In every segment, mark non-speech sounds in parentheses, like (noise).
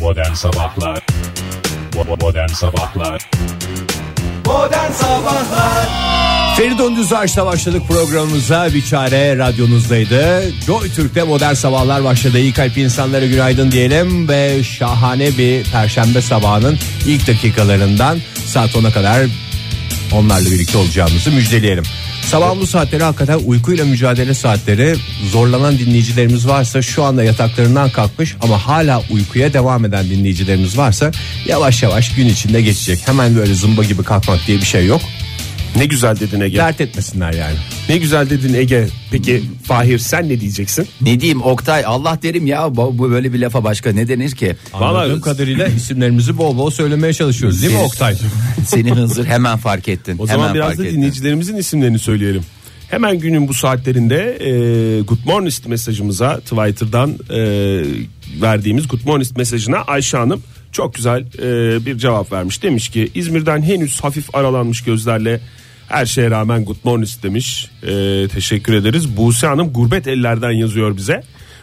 Modern Sabahlar Bo- Modern Sabahlar Modern Sabahlar Feridun Düzağaç'la başladık programımıza Bir çare radyonuzdaydı Joy Türk'te modern sabahlar başladı İyi kalp insanlara günaydın diyelim Ve şahane bir perşembe sabahının ilk dakikalarından Saat 10'a kadar onlarla birlikte olacağımızı müjdeleyelim Sabahın bu saatleri hakikaten uykuyla mücadele saatleri Zorlanan dinleyicilerimiz varsa şu anda yataklarından kalkmış Ama hala uykuya devam eden dinleyicilerimiz varsa Yavaş yavaş gün içinde geçecek Hemen böyle zımba gibi kalkmak diye bir şey yok Ne güzel dedin Ege. Dert etmesinler yani. Ne güzel dedin Ege. Peki Fahir sen ne diyeceksin? Ne diyeyim Oktay Allah derim ya bu bu böyle bir lafa başka ne denir ki Anladığım kadarıyla isimlerimizi bol bol söylemeye çalışıyoruz değil mi Siz- Oktay? Seni hızır hemen fark ettin O zaman hemen biraz fark da ettin. dinleyicilerimizin isimlerini söyleyelim. Hemen günün bu saatlerinde e, Good Morning mesajımıza Twitter'dan e, verdiğimiz Good Morning mesajına Ayşe Hanım çok güzel e, bir cevap vermiş. Demiş ki İzmir'den henüz hafif aralanmış gözlerle her şeye rağmen Good Morning demiş. E, teşekkür ederiz. Buse Hanım gurbet ellerden yazıyor bize.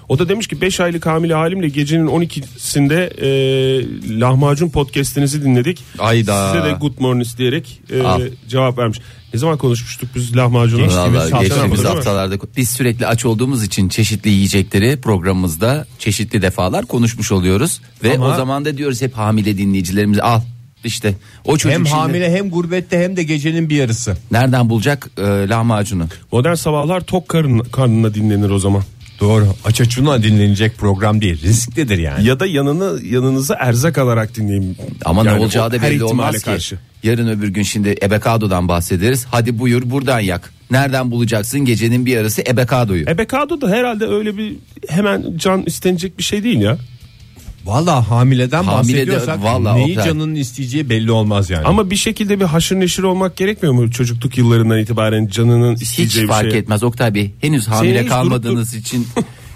O da demiş ki 5 aylık hamile halimle gecenin 12'sinde e, lahmacun podcast'inizi dinledik. Ayda. Size de Good Morning diyerek e, Al. cevap vermiş. Ne zaman konuşmuştuk biz lahmacunu? Vallahi hafta geçtiğimiz değil mi? haftalarda biz sürekli aç olduğumuz için çeşitli yiyecekleri programımızda çeşitli defalar konuşmuş oluyoruz ve Ama- o zaman da diyoruz hep hamile dinleyicilerimize al işte o çocuk Hem şimdi hamile hem gurbette hem de gecenin bir yarısı. nereden bulacak e, lahmacunu? Modern sabahlar tok karın, karnına dinlenir o zaman. Doğru. Açaçuna dinlenecek program değil. Risklidir yani. Ya da yanını yanınıza erzak alarak dinleyin. Ama Yani ne olacağı o- da her belli ihtimale olmaz ki. karşı. Yarın öbür gün şimdi ebekadodan bahsederiz. Hadi buyur buradan yak. Nereden bulacaksın gecenin bir yarısı ebekadoyu? Ebekado E da herhalde öyle bir hemen can istenecek bir şey değil ya. Valla hamileden Hamile de- bahsediyorsak vallahi neyi Oktay. canının isteyeceği belli olmaz yani. Ama bir şekilde bir haşır neşir olmak gerekmiyor mu çocukluk yıllarından itibaren canının Hiç isteyeceği bir şey? fark etmez Oktay Bey. Henüz hamile hiç durup kalmadığınız için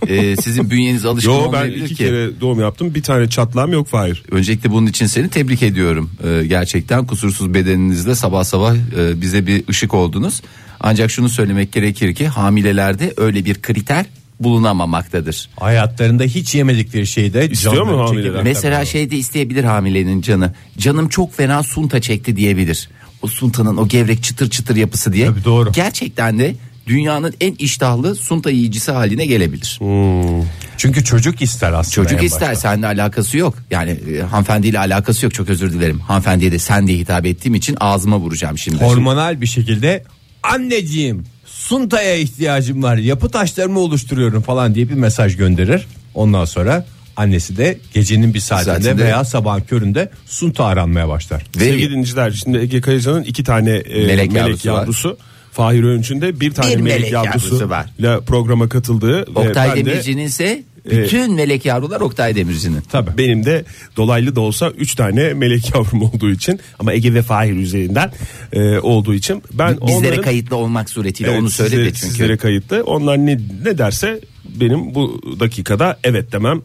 e, sizin bünyeniz alışkın Yo ben olmayabilir iki ki. kere doğum yaptım. Bir tane çatlağım yok Fahir. Öncelikle bunun için seni tebrik ediyorum. Ee, gerçekten kusursuz bedeninizle sabah sabah e, bize bir ışık oldunuz. Ancak şunu söylemek gerekir ki hamilelerde öyle bir kriter bulunamamaktadır. Hayatlarında hiç yemedikleri şeyi de İstiyor canları mu hamileler? çekebilir. Mesela şey de isteyebilir hamilenin canı. Canım çok fena sunta çekti diyebilir. O suntanın o gevrek çıtır çıtır yapısı diye. Tabii doğru. Gerçekten de dünyanın en iştahlı sunta yiyicisi haline gelebilir. Çünkü çocuk ister aslında. Çocuk en ister başta. seninle alakası yok. Yani e, hanımefendiyle alakası yok çok özür dilerim. Hanımefendiye de sen diye hitap ettiğim için ağzıma vuracağım şimdi. Hormonal bir şekilde anneciğim suntaya ihtiyacım var yapı taşlarımı oluşturuyorum falan diye bir mesaj gönderir. Ondan sonra annesi de gecenin bir saatinde Saatinde. veya sabahın köründe sunta aranmaya başlar. Ve Sevgili dinleyiciler şimdi Ege Kayacan'ın iki tane e, melek, Melek yavrusu, yavrusu var. Fahir Öğünç'ün de bir tane Bir melek, melek yavrusu, yavrusu var. ile programa katıldığı Oktay E, ben de- E, Demirci'nin ise bütün melek yavrular Oktay Demirci'nin. Tabii. Benim de dolaylı da olsa 3 tane melek (laughs) yavrum olduğu için ama Ege ve Fahir üzerinden e, olduğu için ben Bizlere onların, kayıtlı olmak suretiyle Evet, onu size- söyledi çünkü. Sizlere kayıtlı. Onlar ne, ne derse benim bu dakikada evet demem.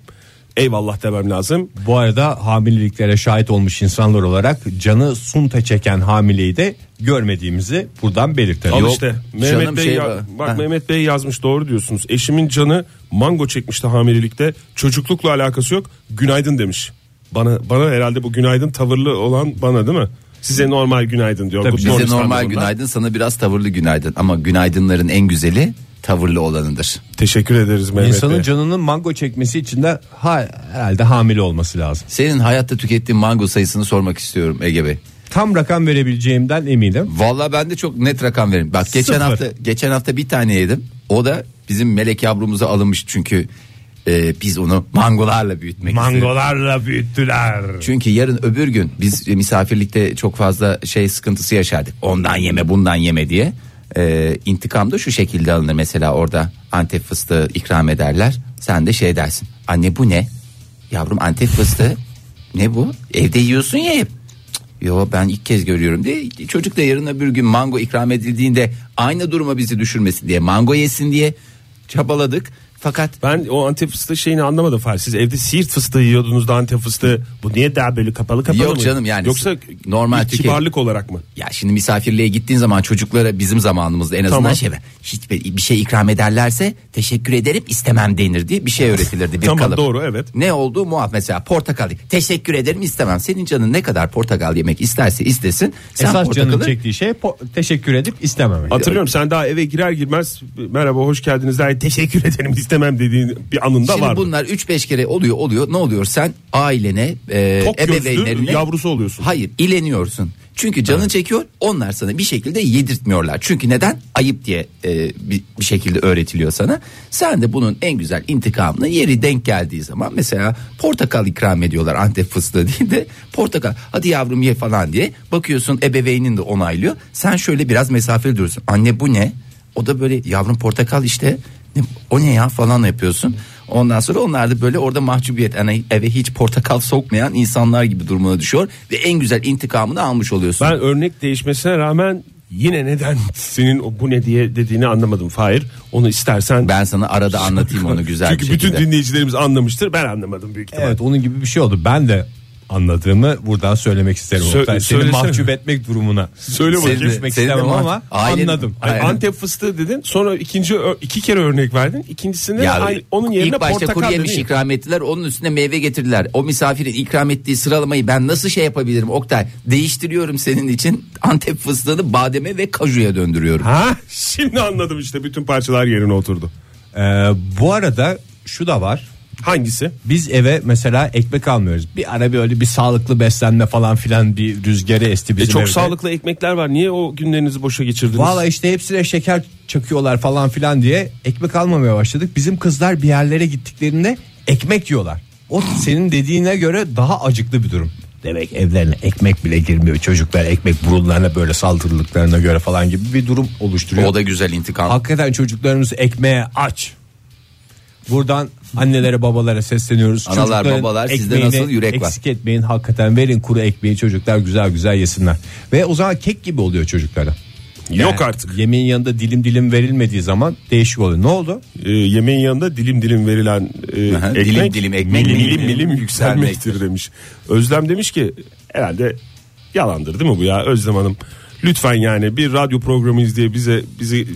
Eyvallah demem lazım. Bu arada hamileliklere şahit olmuş insanlar olarak canı sunta çeken hamileyi de görmediğimizi buradan belirtelim. Al Yok, işte Mehmet canım Bey şey ya- var. bak Ha. Mehmet Bey yazmış doğru diyorsunuz. Eşimin canı mango çekmişti hamilelikte. Çocuklukla alakası yok. Günaydın demiş. Bana bana herhalde bu günaydın tavırlı olan bana değil mi? Size normal günaydın diyor. Tabii, Good bize morning Bize normal standartında. günaydın sana biraz tavırlı günaydın ama günaydınların en güzeli tavırlı olanıdır. Teşekkür ederiz Mehmet İnsanın Bey. canının mango çekmesi için de ha, herhalde hamile olması lazım. Senin hayatta tükettiğin mango sayısını sormak istiyorum Ege Bey. Tam rakam verebileceğimden eminim. Vallahi ben de çok net rakam veririm. Bak geçen Sıfır. hafta geçen hafta bir tane yedim. O da bizim melek yavrumuza alınmış çünkü e, biz onu mangolarla büyütmek istedik. Mangolarla büyüttüler. Çünkü yarın öbür gün biz e, misafirlikte çok fazla şey sıkıntısı yaşadık. Ondan yeme bundan yeme diye. Ee, intikam da şu şekilde alınır mesela orada Antep fıstığı ikram ederler. Sen de şey dersin. Anne bu ne? Yavrum Antep fıstığı. Ne bu? Evde yiyorsun ya hep. Cık, Yo ben ilk kez görüyorum diye çocuk da yarın öbür gün mango ikram edildiğinde aynı duruma bizi düşürmesin diye mango yesin diye çabaladık Fakat Ben o antep fıstığı şeyini anlamadım Fahri. Siz evde siirt fıstığı yiyordunuz da antep fıstığı. Bu niye daha böyle kapalı kapalı Yok mı? canım yani. Yoksa Normal normal tüket- kibarlık olarak mı? ya şimdi misafirliğe gittiğin zaman çocuklara bizim zamanımızda en azından Tamam. şey var. hiç bir bir şey ikram ederlerse teşekkür ederim istemem denir diye bir şey öğretilirdi bir Tamam, kalıp. doğru, evet. Ne oldu muaf mesela portakal teşekkür ederim istemem. Senin canın ne kadar portakal yemek isterse istesin sen Esas canın portakalı çektiği şey po- teşekkür edip istememek. Hatırlıyorum sen daha eve girer girmez merhaba hoş geldiniz daha teşekkür ederim istemem dediğin bir anında Şimdi var. bunlar 3-5 kere oluyor oluyor ne oluyor sen ailene e, Tok gözlü ebeveynlerine yavrusu oluyorsun. hayır ileniyorsun. Çünkü canın çekiyor onlar sana bir şekilde yedirtmiyorlar. Çünkü neden ayıp diye e, bir, bir şekilde öğretiliyor sana. Sen de bunun en güzel intikamını yeri denk geldiği zaman mesela portakal ikram ediyorlar Antep fıstığı değil de portakal hadi yavrum ye falan diye bakıyorsun ebeveynin de onaylıyor. Sen şöyle biraz mesafeli duruyorsun anne bu ne o da böyle yavrum portakal işte ne- o ne ya falan yapıyorsun. Ondan sonra onlar da böyle orada mahcubiyet yani eve hiç portakal sokmayan insanlar gibi durumuna düşüyor ve en güzel intikamını almış oluyorsun. Ben örnek değişmesine rağmen yine neden (laughs) senin o bu ne diye dediğini anlamadım Fahir. Onu istersen Ben sana arada anlatayım onu güzel Çünkü bir şekilde. bütün dinleyicilerimiz anlamıştır. Ben anlamadım büyük ihtimalle. Evet onun gibi bir şey oldu. Ben de anladığımı buradan söylemek isterim. Sö- Oktay. Seni söylesene. mahcup etmek durumuna. Söyle Seni bakayım. düşmek Seni de istemem mahcup- ama Ailenin- anladım. Ay, Aynen. Antep fıstığı dedin. Sonra ikinci ö- iki kere örnek verdin. İkincisinde Ya, ay- onun yerine ilk başta kuru portakal yemiş dedin. ikram ettiler onun üstüne meyve getirdiler. O misafirin ikram ettiği sıralamayı ben nasıl şey yapabilirim Oktay? Değiştiriyorum senin için Antep fıstığını bademe ve kajuya döndürüyorum. Ha? (laughs) Şimdi anladım işte bütün parçalar yerine oturdu. Ee, bu arada şu da var. Hangisi? Biz eve mesela ekmek almıyoruz. Bir ara böyle bir sağlıklı beslenme falan filan bir rüzgarı esti E bizim çok evde. sağlıklı ekmekler var. Niye o günlerinizi boşa geçirdiniz? Valla işte hepsine şeker çakıyorlar falan filan diye ekmek almamaya başladık. Bizim kızlar bir yerlere gittiklerinde ekmek yiyorlar. O senin dediğine göre daha acıklı bir durum. Demek evlerine ekmek bile girmiyor. Çocuklar ekmek burunlarına böyle saldırdıklarına göre falan gibi bir durum oluşturuyor. O da güzel intikam. Hakikaten çocuklarımız ekmeğe aç. Buradan annelere babalara sesleniyoruz. Analar, Çocukların babalar, sizde ekmeğini nasıl yürek var? Eksik etmeyin hakikaten verin kuru ekmeği çocuklar güzel güzel yesinler. Ve o zaman kek gibi oluyor çocuklara. Yok Yani artık. Yemeğin yanında dilim dilim verilmediği zaman değişik oluyor. Ne oldu? E, yemeğin yanında dilim dilim verilen e, Aha, ekmek, dilim dilim ekmek, milim milim milim, milim yükselmektir demiş. Özlem demiş ki herhalde yalandır değil mi bu ya Özlem Hanım? Lütfen yani bir radyo programıyız diye bize bizi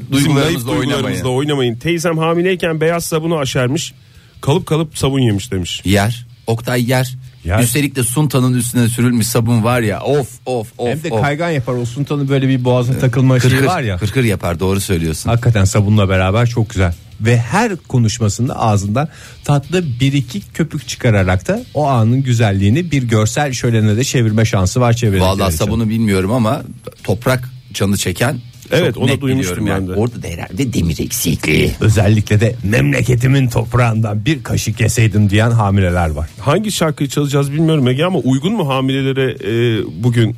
bizim naif duygularımızla oynamayın. duygularımızla oynamayın. Teyzem hamileyken beyaz sabunu aşermiş. Kalıp kalıp sabun yemiş demiş. Yer. Oktay yer. Yer. Üstelik de suntanın üstüne sürülmüş sabun var ya. Of of of. Hem de of. kaygan yapar o suntanın böyle bir boğazına takılma Kırkır, şeyi var ya. kırkır yapar doğru söylüyorsun. Hakikaten sabunla beraber çok güzel. Ve her konuşmasında ağzından tatlı bir iki köpük çıkararak da o anın güzelliğini bir görsel şölene de çevirme şansı var çevirenler Vallahi için. sabunu bilmiyorum ama toprak canı çeken Evet, çok onu net duymuştum biliyorum ben de. Orada da herhalde demir eksikliği. Özellikle de memleketimin toprağından bir kaşık yeseydim diyen hamileler var. Hangi şarkıyı çalacağız bilmiyorum Ege ama uygun mu hamilelere e, bugün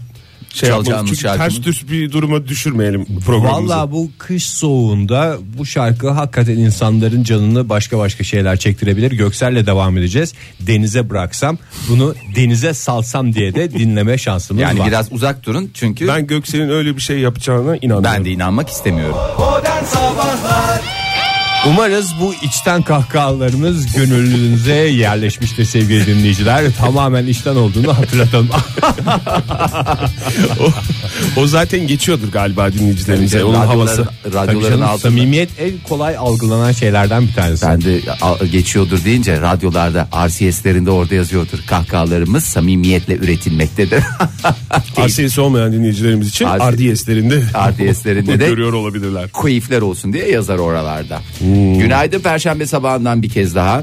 şey yapmamız? Çalacağımız Çünkü şarkı mı? ters düz bir duruma düşürmeyelim programımızı. Vallahi bu kış soğuğunda bu şarkı hakikaten insanların canını başka başka şeyler çektirebilir. Göksel'le devam edeceğiz. Denize bıraksam bunu denize salsam diye de dinleme şansımız Yani var. biraz uzak durun çünkü ben, Ben Göksel'in öyle bir şey yapacağına inanmıyorum. de inanmak istemiyorum. Umarız bu içten kahkahalarımız gönlünüze yerleşmiştir sevgili dinleyiciler. Tamamen içten olduğunu hatırlatalım. (laughs) O zaten geçiyordur galiba dinleyicilerimize. Tabii Onun canım, havası. radyoların- Tabii radyoların canım, altında. samimiyet en kolay algılanan şeylerden bir tanesi. Ben de a- geçiyordur deyince radyolarda RCS'lerinde orada yazıyordur. Kahkahalarımız samimiyetle üretilmektedir. (laughs) RCS olmayan dinleyicilerimiz için RCS RDS'lerinde RDS'lerinde bunu de- (laughs) görüyor olabilirler. keyifler olsun diye yazar oralarda. Hmm. Günaydın Perşembe sabahından bir kez daha.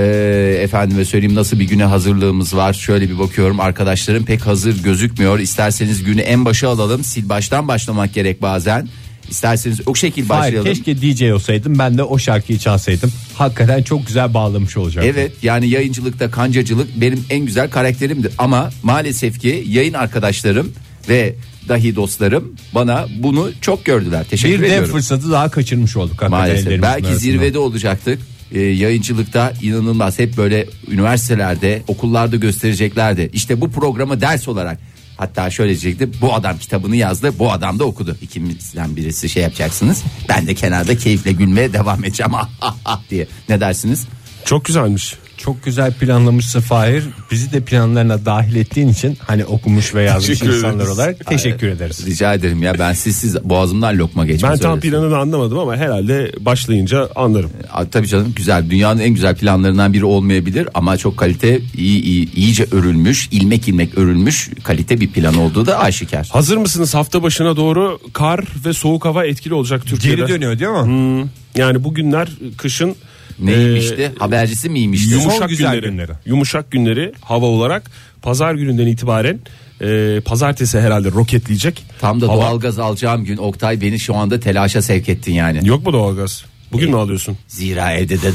Ee, efendime söyleyeyim nasıl bir güne hazırlığımız var şöyle bir bakıyorum arkadaşlarım pek hazır gözükmüyor İsterseniz günü en başa alalım sil baştan başlamak gerek bazen İsterseniz o şekil Hayır, başlayalım keşke DJ olsaydım ben de o şarkıyı çalsaydım. Hakikaten çok güzel bağlamış olacaktım. Evet yani yayıncılıkta kancacılık benim en güzel karakterimdir. Ama maalesef ki yayın arkadaşlarım ve dahi dostlarım bana bunu çok gördüler. Teşekkür Bir de ediyorum. fırsatı daha kaçırmış olduk. hakikaten Maalesef ellerimizin belki arasında. zirvede olacaktık. Ee, yayıncılıkta inanılmaz hep böyle üniversitelerde okullarda göstereceklerdi. İşte bu programı ders olarak Hatta şöyle diyecekti bu adam kitabını yazdı bu adam da okudu. İkimizden birisi şey yapacaksınız. Ben de kenarda keyifle gülmeye devam edeceğim (laughs) Ah, diye. Ne dersiniz? Çok güzelmiş. Çok güzel planlamışsın Fahir. Bizi de planlarına dahil ettiğin için hani okumuş ve yazmış Teşekkür insanlar ederiz. olarak teşekkür ederiz. Rica ederim ya ben sizsiz boğazımdan lokma geçmez. Ben tam öyle söyleyeyim. planını anlamadım ama herhalde başlayınca anlarım. A, Tabii canım güzel. Dünyanın en güzel planlarından biri olmayabilir ama çok kalite iyi, iyi iyice örülmüş, ilmek ilmek örülmüş kalite bir plan olduğu da aşikar. Hazır mısınız hafta başına doğru kar ve soğuk hava etkili olacak Türkiye'de. Geri dönüyor değil mi? Hmm. Yani bugünler kışın Neymişti? e, Habercisi miymişti? Son yumuşak güzel günleri, günleri. Yumuşak günleri hava olarak pazar gününden itibaren e, pazartesi herhalde roketleyecek. Tam da Hava- doğalgaz alacağım gün Oktay beni şu anda telaşa sevk ettin yani. Yok mu doğalgaz? E, Bugün mü alıyorsun? Zira evde de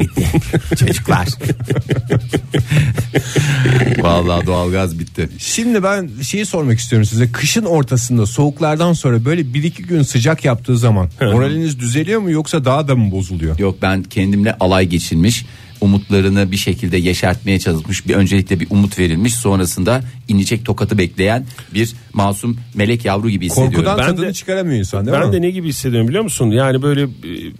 (laughs) bitti çocuklar. Vallahi doğalgaz bitti. Şimdi ben şeyi sormak istiyorum size. Kışın ortasında soğuklardan sonra böyle bir iki gün sıcak yaptığı zaman moraliniz düzeliyor mu yoksa daha da mı bozuluyor? Yok ben kendimle alay geçirmiş umutlarını bir şekilde yeşertmeye çalışmış bir öncelikle bir umut verilmiş sonrasında inecek tokatı bekleyen bir masum melek yavru gibi hissediyorum. Korkudan Ben tadını de- çıkaramıyor insan değil ben mi? de ne gibi hissediyorum biliyor musun? Yani böyle e,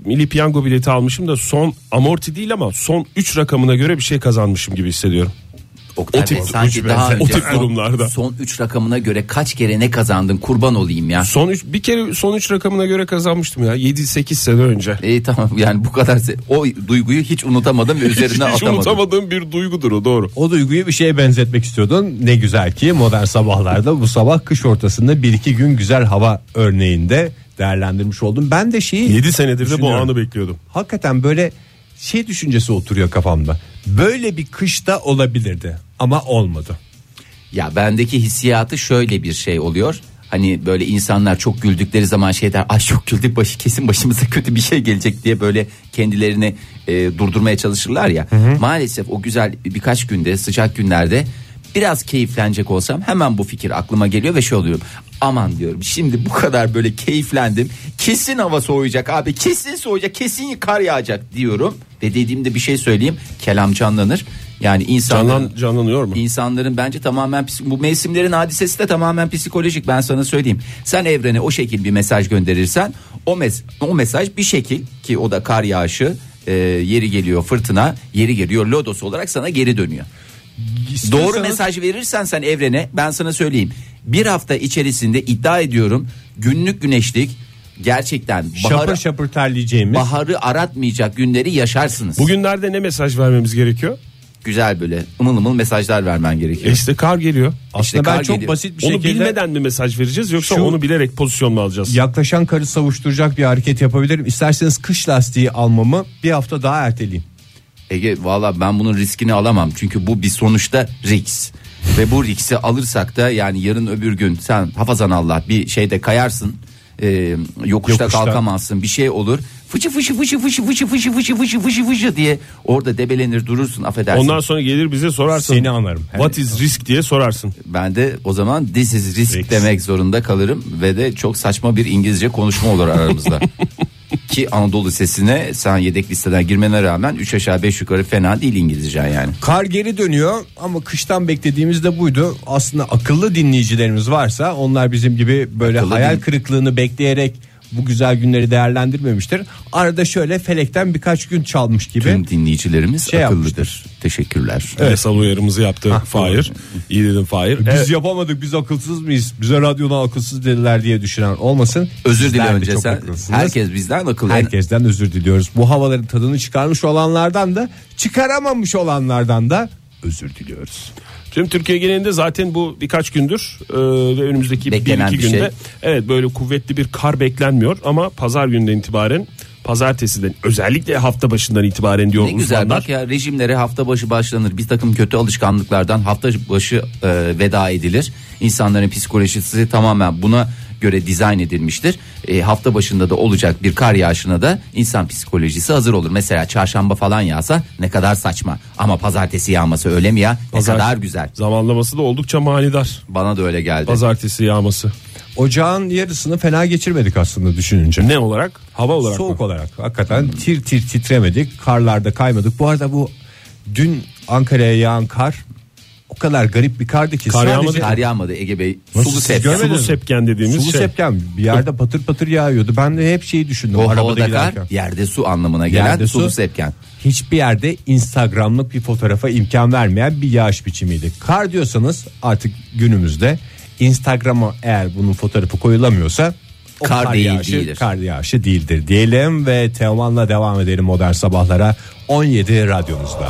milli piyango bileti almışım da son amorti değil ama son 3 rakamına göre bir şey kazanmışım gibi hissediyorum. Oktay O tip- Bey, sanki üç daha benzer- önce o tip son- durumlarda. son 3 rakamına göre kaç kere ne kazandın kurban olayım ya. Son üç, bir kere son 3 rakamına göre kazanmıştım ya 7-8 sene önce. E, İyi tamam yani bu kadar se- o duyguyu hiç unutamadım ve üzerine Hiç atamadım. unutamadığım bir duygudur o doğru. O duyguyu bir şeye benzetmek istiyordun. Ne güzel ki modern sabahlarda bu sabah kış ortasında bir iki gün güzel hava örneğinde değerlendirmiş oldum. Ben de şeyi 7 senedir de bu Düşünüyorum. anı bekliyordum. hakikaten böyle şey düşüncesi oturuyor kafamda. Böyle bir kışta olabilirdi ama olmadı. Ya bendeki hissiyatı şöyle bir şey oluyor. Hani böyle insanlar çok güldükleri zaman şey der ay çok güldük başı kesin başımıza kötü bir şey gelecek diye böyle kendilerini e, durdurmaya çalışırlar ya. Maalesef o güzel birkaç günde sıcak günlerde biraz keyiflenecek olsam hemen bu fikir aklıma geliyor ve şey oluyorum. Aman diyorum şimdi bu kadar böyle keyiflendim kesin hava soğuyacak abi kesin soğuyacak kesin kar yağacak diyorum. Ve dediğimde bir şey söyleyeyim kelam canlanır. Yani insanların Canlan, canlanıyor mu? İnsanların bence tamamen psik- bu mevsimlerin hadisesi de tamamen psikolojik ben sana söyleyeyim. Sen evrene o şekil bir mesaj gönderirsen o mes o mesaj bir şekil ki o da kar yağışı e, yeri geliyor fırtına yeri geliyor lodos olarak sana geri dönüyor. Doğru mesaj verirsen sen evrene ben sana söyleyeyim. Bir hafta içerisinde iddia ediyorum günlük güneşlik gerçekten baharı, Şapır şapır terleyeceğimiz. baharı aratmayacak günleri yaşarsınız. Bugün Bugünlerde ne mesaj vermemiz gerekiyor? güzel böyle ımıl ımıl mesajlar vermen gerekiyor. E işte kar geliyor. Aslında kar ben çok geliyor. basit bir onu şekilde bilmeden mi mesaj vereceğiz yoksa Şu- onu bilerek pozisyon mu alacağız? yaklaşan karı savuşturacak bir hareket yapabilirim. İsterseniz kış lastiği almamı bir hafta daha erteleyeyim. Ege valla ben bunun riskini alamam. Çünkü bu bir sonuçta risk. Ve bu riski alırsak da yani yarın öbür gün sen hafazan Allah bir şeyde kayarsın. e, yokuşta, Yokuşta. kalkamazsın bir şey olur. Fıçı fıçı fıçı fıçı fıçı fıçı fıçı fıçı fıçı fıçı diye orada debelenir durursun affedersin. Ondan sonra gelir bize sorarsın. Seni anarım. What is risk diye sorarsın. Ben de o zaman this is risk, Risk. demek zorunda kalırım ve de çok saçma bir İngilizce konuşma olur aramızda. Ki Anadolu Lisesi'ne sen yedek listeden girmene rağmen 3 aşağı 5 yukarı fena değil İngilizcen yani. Kar geri dönüyor ama kıştan beklediğimiz de buydu. Aslında akıllı dinleyicilerimiz varsa onlar bizim gibi böyle Akıllı hayal din- kırıklığını bekleyerek bu güzel günleri değerlendirmemiştir. Arada şöyle felekten birkaç gün çalmış gibi. Tüm dinleyicilerimiz Şey akıllıdır. yapmıştır. Teşekkürler. Yasal uyarımızı yaptı Fahir. İyi dedin Fahir. Biz Evet. yapamadık biz akılsız mıyız? Bize radyoda akılsız dediler diye düşünen olmasın. Özür dile Sizler de önce çok sen. haklısınız. Herkes bizden akıllı. Herkesten özür diliyoruz. Bu havaların tadını çıkarmış olanlardan da çıkaramamış olanlardan da özür diliyoruz. Tüm Türkiye genelinde zaten bu birkaç gündür e, ve önümüzdeki Beklenen bir iki bir şey. günde evet böyle kuvvetli bir kar beklenmiyor ama pazar günden itibaren pazartesiden özellikle hafta başından itibaren diyor Ne güzel uzmanlar. bak ya rejimlere hafta başı başlanır. Bir takım kötü alışkanlıklardan hafta başı e, veda edilir. İnsanların psikolojisi tamamen buna göre dizayn edilmiştir. E, hafta başında da olacak bir kar yağışına da insan psikolojisi hazır olur. Mesela çarşamba falan yağsa ne kadar saçma. Ama pazartesi yağması öyle mi ya? Pazar- Ne kadar güzel. Zamanlaması da oldukça manidar. Bana da öyle geldi. Pazartesi yağması. Ocağın yarısını fena geçirmedik aslında düşününce. Ne olarak? Hava olarak mı? Soğuk olarak hakikaten tir tir titremedik. Karlarda kaymadık. Bu arada bu dün Ankara'ya yağan kar o kadar garip bir kardı ki Kar yağmadı sadece ki. Kar yağmadı Ege Bey. Nasıl Sulu siz sep. görmediniz? Sulu sepken dediğimiz sulu şey. sepken bir yerde patır patır yağıyordu. Ben de hep şeyi düşündüm O arabada havada kar, giderken. yerde su anlamına gelen Yerde su. sulu sepken. Hiçbir yerde Instagram'lık bir fotoğrafa imkan vermeyen bir yağış biçimiydi. Kar diyorsanız artık günümüzde Instagram'a eğer bunun fotoğrafı koyulamıyorsa o Kar değil, yağışı, değildir. Kar yağışı değildir diyelim ve Teoman'la devam edelim modern sabahlara 17 radyomuzda.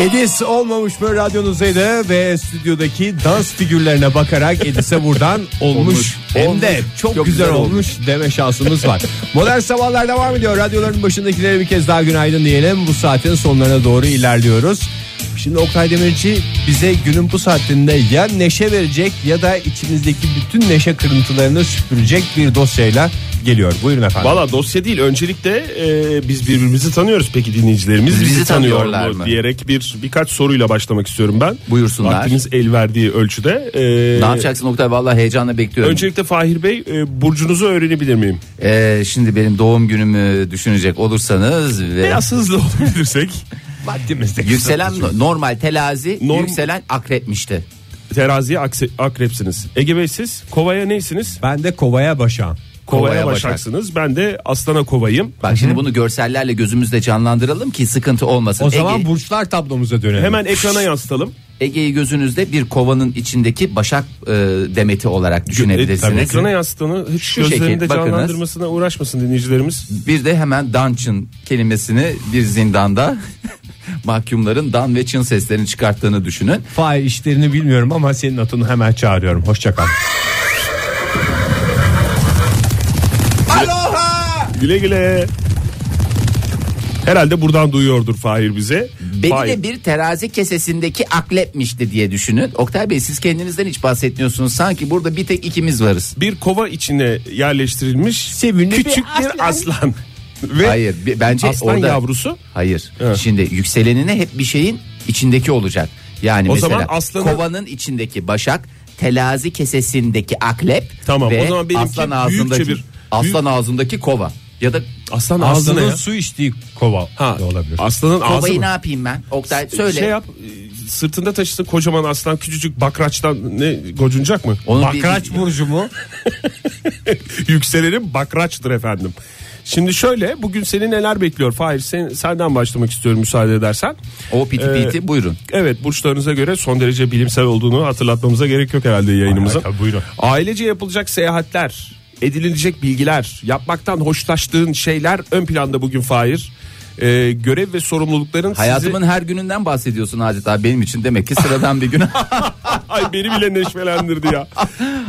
Edis olmamış böyle radyonuzdaydı ve stüdyodaki dans figürlerine bakarak Edis'e buradan (laughs) olmuş. Olmuş. Hem Olmuş. de çok, Çok güzel, güzel olmuş deme şansımız (laughs) var. Modern Sabahlar devam ediyor. Radyoların başındakilere bir kez daha günaydın diyelim. Bu saatin sonlarına doğru ilerliyoruz. Şimdi Oktay Demirci bize günün bu saatinde ya neşe verecek ya da içimizdeki bütün neşe kırıntılarını süpürecek bir dosyayla geliyor. Buyurun efendim. Valla dosya değil öncelikle e, biz birbirimizi tanıyoruz peki dinleyicilerimiz Bizi bizi, tanıyorlar tanıyorlar mı mı? diyerek bir birkaç soruyla başlamak istiyorum ben. Buyursunlar. Vaktimiz el verdiği ölçüde. E, Ne yapacaksın Oktay? Vallahi heyecanla bekliyorum. Öncelikle Fahir Bey e, burcunuzu öğrenebilir miyim? Ee, şimdi benim doğum günümü düşünecek olursanız (laughs) ve Biraz hızlı olabilirsek Vaktimizdeki yükselen normal telazi, Norm- yükselen akrepmişti. (laughs) teraziye akse- akrepsiniz. Ege Bey siz kovaya neysiniz? Ben de kovaya başan. Kovaya, Kovaya Başak. başaksınız. Ben de aslana kovayım. Bak şimdi bunu görsellerle gözümüzde canlandıralım ki sıkıntı olmasın. O zaman Ege- burçlar tablomuza dönelim. Hemen ekrana yansıtalım. Ege'yi gözünüzde bir kovanın içindeki başak e, demeti e, olarak E, Tabii düşünebilirsiniz. ekrana yansıtanı hiç Şu gözlerinde şekil, bakınız. canlandırmasına uğraşmasın dinleyicilerimiz. Bir de hemen dungeon kelimesini bir zindanda (laughs) mahkumların dan ve çın seslerini çıkarttığını düşünün. Fahir işlerini bilmiyorum ama senin atını hemen çağırıyorum. Hoşça kal. Güle güle. Herhalde buradan duyuyordur Fahir bize. Beni Fahir. de bir terazi kesesindeki aklepmişti diye düşünün. Oktay Bey siz kendinizden hiç bahsetmiyorsunuz. Sanki burada bir tek ikimiz varız. bir kova içine yerleştirilmiş Sevimli küçük bir bir aslan. (laughs) Ve Hayır bi- bence aslan orada yavrusu. Hayır. Evet. Şimdi yükselenine hep bir şeyin içindeki olacak. Yani O mesela zaman aslanı- kovanın içindeki başak, telazi kesesindeki aklep Tamam, ve o zaman benimki aslan büyükçe ağzındaki bir- aslan ağzındaki kova ya da Aslan ağzına Ağzının ya. su içtiği kova Ha, da olabilir. Aslanın ağzı kovayı mı? ne yapayım ben? Oktay söyle. Şey yap e, sırtında taşısın kocaman aslan küçücük bakraçtan ne gocunacak mı? Onun bir- Bakraç burcu mu? (laughs) Yükselenim bakraçtır efendim. Şimdi şöyle bugün seni neler bekliyor Fahir sen, senden başlamak istiyorum müsaade edersen. O piti Ee, piti buyurun. Evet burçlarınıza göre son derece bilimsel olduğunu hatırlatmamıza gerek yok herhalde yayınımızın. Ay, ay, tabii, buyurun. Ailece yapılacak seyahatler, edinilecek bilgiler, yapmaktan hoşlaştığın şeyler ön planda bugün Fahir. Ee, görev ve sorumlulukların Hayatımın her gününden bahsediyorsun adeta benim için demek ki sıradan bir (laughs) gün. sizi... (laughs) Ay beni bile neşvelendirdi ya.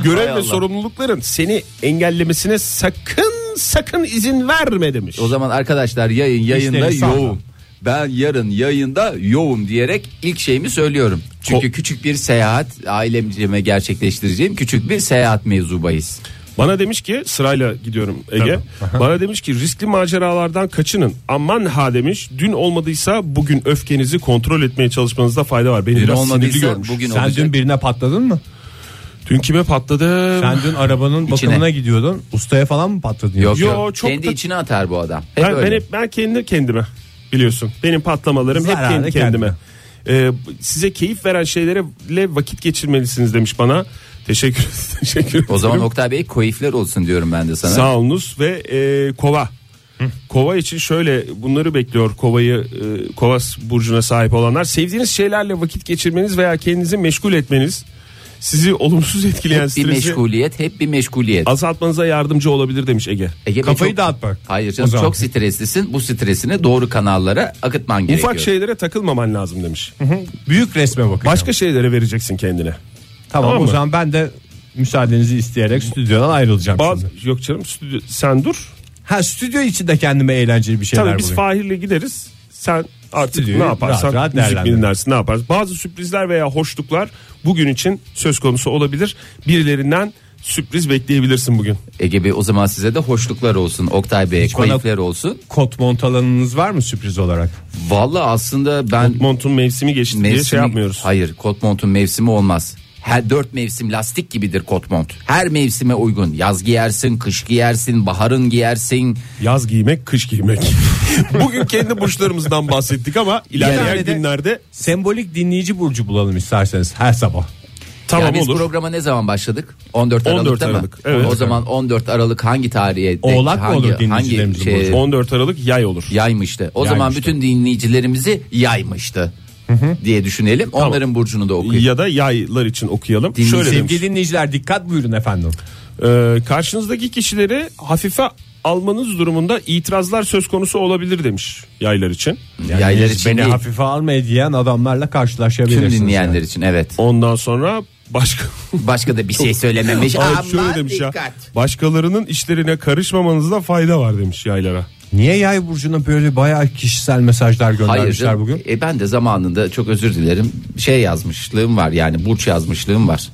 Görev Hay ve Allah. sorumlulukların seni engellemesine sakın sakın izin verme demiş. o zaman arkadaşlar yayın yayında İşleri sağlam. yoğum. Ben yarın yayında yoğum diyerek ilk şeyimi söylüyorum. Çünkü küçük bir seyahat ailemcime gerçekleştireceğim küçük bir seyahat mevzubayız. Bana demiş ki sırayla gidiyorum Ege. Bana demiş ki riskli maceralardan kaçının. Aman ha demiş. Dün olmadıysa bugün öfkenizi kontrol etmeye çalışmanızda fayda var. Beni Dün biraz sinirli olmadıysa görmüş. bugün Sen olacak. dün birine patladın mı? Dün kime patladı? Sen dün arabanın İçine. bakımına gidiyordun. Ustaya falan mı patladın? Yok Yo, yok. çok Kendi da- içine atar bu adam. Hep Ben, ben, öyle. hep, ben kendi kendime biliyorsun. Benim patlamalarım hep Zararı kendi kendime. Ee, size keyif veren şeylerle vakit geçirmelisiniz demiş bana. Teşekkür, (laughs) teşekkür ederim. O zaman Oktay Bey koyifler olsun diyorum ben de sana. Sağ olunuz ve e, kova. Kova için şöyle bunları bekliyor kovayı e, kova burcuna sahip olanlar. Sevdiğiniz şeylerle vakit geçirmeniz veya kendinizi meşgul etmeniz sizi olumsuz etkileyen bir stresi meşguliyet, hep bir meşguliyet. azaltmanıza yardımcı olabilir demiş Ege. Ege Bey Kafayı çok- dağıtmak. Hayır O canım zaman. çok streslisin. Bu stresini doğru kanallara akıtman gerekiyor. Ufak şey- şeylere takılmaman lazım demiş. Büyük resme bakacağım. Başka şeylere vereceksin kendine. tamam, Tamam o mı? zaman ben de müsaadenizi isteyerek stüdyodan ayrılacağım. Bazı şimdi. yok canım stüdyo- sen dur. Ha stüdyo içinde kendime eğlenceli bir şeyler Tabii biz bulayım. Fahir'le gideriz. Sen artık Stüdyoyu ne yaparsan rahat rahat müzik değerlendirelim. dinlersin ne yaparsın. Bazı sürprizler veya hoşluklar bugün için söz konusu olabilir. Birilerinden sürpriz bekleyebilirsin bugün. Ege Bey o zaman size de hoşluklar olsun. Oktay Bey bana- koyifler olsun. Kot montalanınız var mı sürpriz olarak? Vallahi aslında ben Montun mevsimi geçti diye şey mevsimi- yapmıyoruz. Hayır kot montun mevsimi olmaz. Her dört mevsim lastik gibidir kot mont. Her mevsime uygun. Yaz giyersin, kış giyersin, baharın giyersin. Yaz giymek, kış giymek. (laughs) Bugün kendi burçlarımızdan bahsettik (laughs) ama ilerleyen İleride de- günlerde Sembolik dinleyici burcu bulalım isterseniz her sabah. tamam ya biz olur. programa ne zaman başladık? 14 Aralık 14 değil mi? Aralık, evet. O zaman 14 Aralık hangi tarihe? denk- Oğlak mı hangi, olur dinleyicilerimizin hangi şey, burcu? 14 Aralık yay olur. yaymıştı. O zaman Yaymıştı. bütün dinleyicilerimizi yaymıştı diye düşünelim. Onların burcunu da okuyalım. Ya da yaylar için okuyalım. Dinleyici- Şöyle demiş. Sevgili dinleyiciler dikkat buyurun efendim. Ee, karşınızdaki kişileri hafife almanız durumunda itirazlar söz konusu olabilir demiş yaylar için. Yaylar Biz için beni değil. hafife almayın diyen adamlarla Tüm karşılaşabilirsiniz. dinleyenler için evet. Ondan sonra (laughs) başka Başka da bir şey söylememiş. Ay, Aman şöyle demiş ya. dikkat. Başkalarının işlerine karışmamanızda fayda var demiş yaylara. Niye yay burcuna böyle bayağı kişisel mesajlar Hayır göndermişler canım. bugün? E ben de zamanında çok özür dilerim şey yazmışlığım var yani burç yazmışlığım var.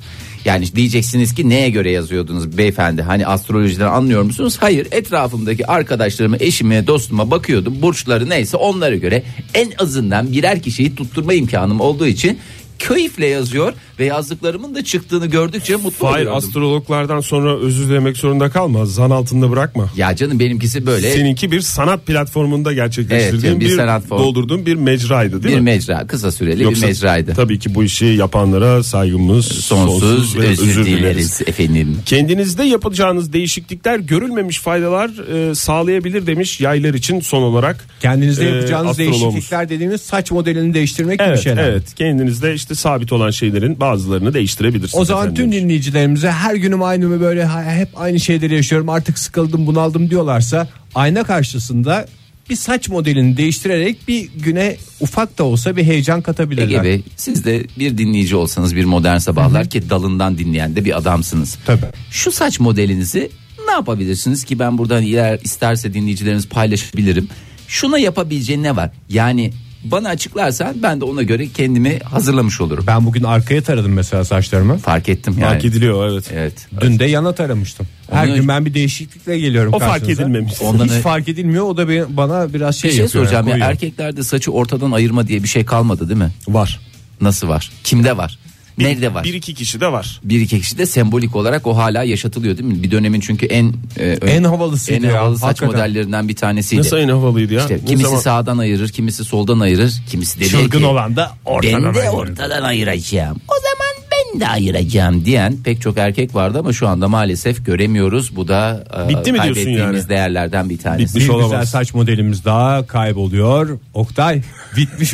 Yani diyeceksiniz ki neye göre yazıyordunuz beyefendi hani astrolojiden anlıyor musunuz? Hayır etrafımdaki arkadaşlarıma eşime dostuma bakıyordum burçları neyse onlara göre en azından birer kişiyi tutturma imkanım olduğu için keyifle yazıyor ve yazdıklarımın da çıktığını gördükçe mutlu Hayır oluyordum. astrologlardan sonra özür dilemek zorunda kalma. Zan altında bırakma. ya canım benimkisi böyle Seninki bir sanat platformunda Evet, gerçekleştirdiğin canım, bir bir, sanat formu. doldurduğun bir mecraydı değil bir mi? mecra kısa süreli Yoksa bir mecraydı. Tabii ki bu işi yapanlara saygımız sonsuz, Sonsuz, ve özür, dileriz efendim. Kendinizde yapacağınız değişiklikler görülmemiş faydalar e, sağlayabilir demiş yaylar için son olarak. Kendinizde e, yapacağınız astroloğumuz. değişiklikler dediğimiz saç modelini değiştirmek gibi Evet, şeyler. evet. Kendinizde işte sabit olan şeylerin bazılarını değiştirebilirsiniz. O zaman efendim tüm demiş. dinleyicilerimize her günüm aynı mı böyle ha- hep aynı şeyleri yaşıyorum artık sıkıldım bunaldım diyorlarsa ayna karşısında bir saç modelini değiştirerek bir güne ufak da olsa bir heyecan katabilirler. Ege Bey siz de bir dinleyici olsanız bir modern sabahlar ki dalından dinleyen de bir adamsınız. Tabii. Şu saç modelinizi ne yapabilirsiniz ki ben buradan iler isterse dinleyicilerimiz paylaşabilirim. Şuna yapabileceğin ne var? Yani bana açıklarsan ben de ona göre kendimi hazırlamış olurum. Ben bugün arkaya taradım mesela saçlarımı. Fark ettim yani. e, Fark ediliyor evet. Evet. Dün de yana taramıştım. Her Onu- gün ben bir değişiklikle geliyorum O fark karşınıza. edilmemiş. Ondan Hiç ö- fark edilmiyor o da be- bana biraz şey, Bir şey yapıyor. soracağım ya koyuyor. erkeklerde saçı ortadan ayırma diye bir şey kalmadı değil mi? var. Nasıl var? Kimde var? Nerede var? Bir iki kişi de var. bir iki kişi de sembolik olarak o hala yaşatılıyor değil mi? Bir dönemin çünkü en e, En havalısıydı en ya, havalı saç hakikaten. modellerinden bir tanesiydi. Nasıl en havalıydı ya? İşte Ne kimisi zaman- sağdan ayırır, kimisi soldan ayırır, kimisi dedi Çılgın ki, olan da ortadan ben de ayırır." ortadan ayıracağım. O zaman ben de ayıracağım diyen pek çok erkek vardı ama şu anda maalesef göremiyoruz. Bu da e, Bitti mi diyorsun kaybettiğimiz yani? değerlerden bir tanesi. Bitmiş Bir olamaz. güzel saç modelimiz daha kayboluyor. Oktay bitmiş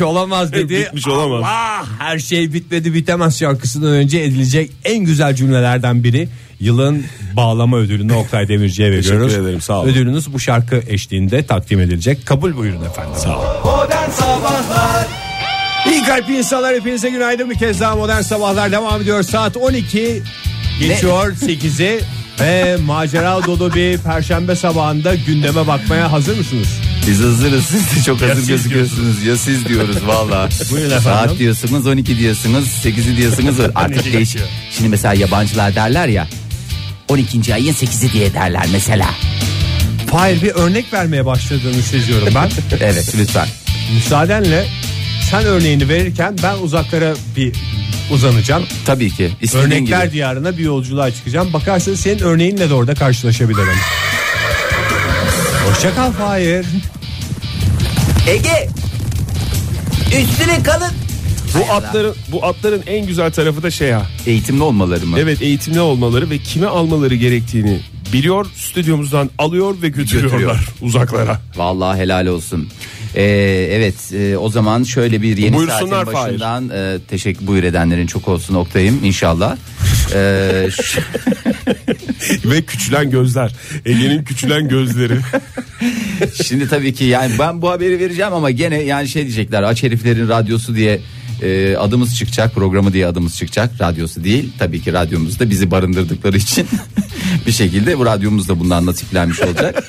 (laughs) olamaz dedi. Bitmiş olamaz. Allah, her şey bitmedi bitemez şarkısından önce edilecek en güzel cümlelerden biri. Yılın bağlama ödülünü Oktay Demirci'ye Teşekkür veriyoruz. ederim, sağ olun. Ödülünüz bu şarkı eşliğinde takdim edilecek. Kabul buyurun efendim. Sağ olun. İyi kalp insanlar hepinize günaydın bir kez daha modern sabahlar devam ediyor. Saat 12 geçiyor 8'i ve macera dolu bir perşembe sabahında gündeme bakmaya hazır mısınız? Biz hazırız siz de çok hazır siz gözüküyorsunuz ya siz diyoruz valla. (laughs) Buyurun efendim. Saat diyorsunuz 12 diyorsunuz 8'i diyorsunuz artık değişik. Şimdi mesela yabancılar derler ya 12. ayın 8'i diye derler (laughs) mesela. Hayır bir örnek vermeye başladığını seziyorum ben. Evet lütfen. Müsaadenle sen örneğini verirken ben uzaklara bir uzanacağım. Tabii ki. İstediğin Örnekler gibi. diyarına bir yolculuğa çıkacağım. Bakarsın senin örneğinle de orada karşılaşabilirim. Hoşça kal (laughs) Fahir. Ege üstüne kalın. Bu atların bu atların en güzel tarafı da şey ha. Eğitimli olmaları mı? Evet eğitimli olmaları ve kime almaları gerektiğini biliyor. Stüdyomuzdan alıyor ve götürüyorlar Götürüyor. uzaklara. Vallahi helal olsun. Ee, evet e, o zaman şöyle bir yeni saatin Buyursunlar Fahir. başından e, teşekkür buyur edenlerin çok olsun Oktay'ım inşallah. Ee, (laughs) ş- ve küçülen gözler. Ege'nin küçülen (laughs) gözleri. Şimdi tabii ki yani ben bu haberi vereceğim ama gene yani şey diyecekler aç heriflerin radyosu diye e, adımız çıkacak programı diye adımız çıkacak radyosu değil tabii ki radyomuzda bizi barındırdıkları için (laughs) bir şekilde bu radyomuz da bundan nasiplenmiş olacak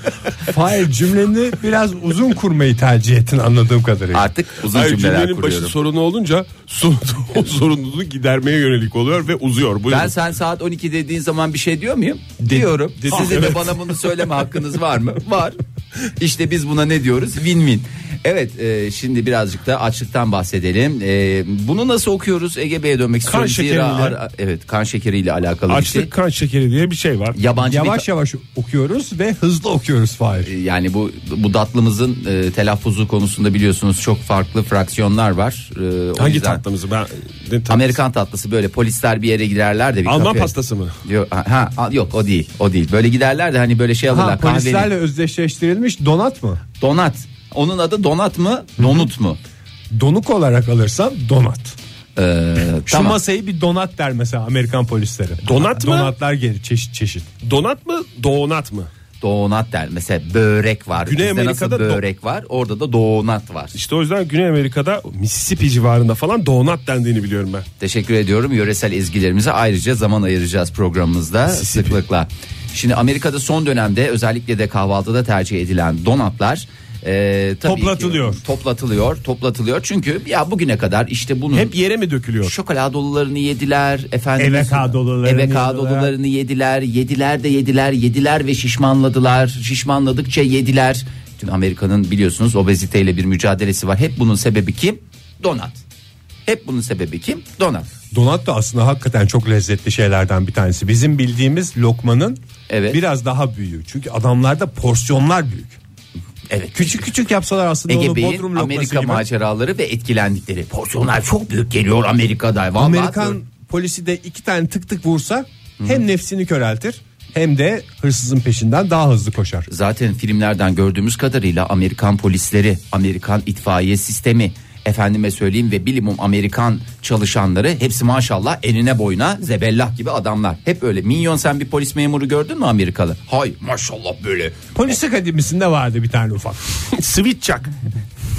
Fahir cümleni biraz uzun kurmayı tercih ettin anladığım kadarıyla. artık uzun Hayır, cümleler cümlenin başı kuruyorum. sorunu olunca sorun, (laughs) o sorununu gidermeye yönelik oluyor ve uzuyor. Buyurun. Ben sen saat 12 dediğin zaman bir şey diyor muyum? Diyorum. Sizin de bana bunu söyleme hakkınız var mı? Var. İşte biz buna ne diyoruz? Win win. Evet e, şimdi birazcık da açlıktan bahsedelim. E, bunu nasıl okuyoruz? Ege Bey'e dönmek Kan istiyorum. Zira şekeriyle. ara- evet kan şekeriyle alakalı bir şey. Açlık kan şekeri diye bir şey var. Yabancı bir Ee, Yavaş yavaş okuyoruz ve hızlı okuyoruz Fahir. yani bu bu tatlımızın e, telaffuzu konusunda biliyorsunuz çok farklı fraksiyonlar var. E, o Hangi yüzden- tatlımızı ben? ne tatlısı? Amerikan tatlısı böyle polisler bir yere giderler de bir Alman kafeye- pastası mı? Yok, ha, ha, yok o değil o değil böyle giderler de hani böyle şey alırlar Ha, kahvenin- polislerle özdeşleştirilmiş donat mı? donat onun adı donat mı donut mu Donuk olarak alırsam donat. Ee, Şu tamam masayı bir donat der mesela Amerikan polisleri. Donat mı? Donatlar gelir çeşit çeşit. Donat mı? Donat mı? donat der mesela börek var Güney bizde Amerika'da nasıl do- börek var orada da donat var İşte o yüzden Güney Amerika'da Mississippi civarında falan donat dendiğini biliyorum ben. Teşekkür ediyorum. Yöresel ezgilerimize ayrıca zaman ayıracağız programımızda sıklıkla. Şimdi Amerika'da son dönemde özellikle de kahvaltıda tercih edilen donatlar e, tabii ki- Toplatılıyor. toplatılıyor, toplatılıyor. Çünkü ya bugüne kadar işte bunun Hep yere mi dökülüyor? şokoladolarını yediler efendim. Evekadolarını Evekadolarını yediler, yediler de yediler, yediler ve şişmanladılar. Şişmanladıkça yediler. Dün Amerika'nın biliyorsunuz obeziteyle bir mücadelesi var. Hep bunun sebebi kim? Donat. Hep bunun sebebi kim? Donat. Donat da aslında hakikaten çok lezzetli şeylerden bir tanesi. Bizim bildiğimiz lokmanın Evet. biraz daha büyüğü. Çünkü adamlarda porsiyonlar büyük. Evet. Küçük küçük yapsalar aslında onu Ege Bodrum Bey'in lokması Amerika gibi. maceraları ve etkilendikleri porsiyonlar çok büyük geliyor Amerika'da. Vallahi Amerikan polisi de iki tane tık tık vursa hem nefsini köreltir hem de hırsızın peşinden daha hızlı koşar. zaten filmlerden gördüğümüz kadarıyla Amerikan polisleri, Amerikan itfaiye sistemi, efendime söyleyeyim ve bilimum Amerikan çalışanları hepsi maşallah enine boyuna zebellah gibi adamlar. Hep öyle. Minyon sen bir polis memuru gördün mü Amerikalı? Hay maşallah böyle. Polis akademisinde vardı bir tane ufak. Switchak.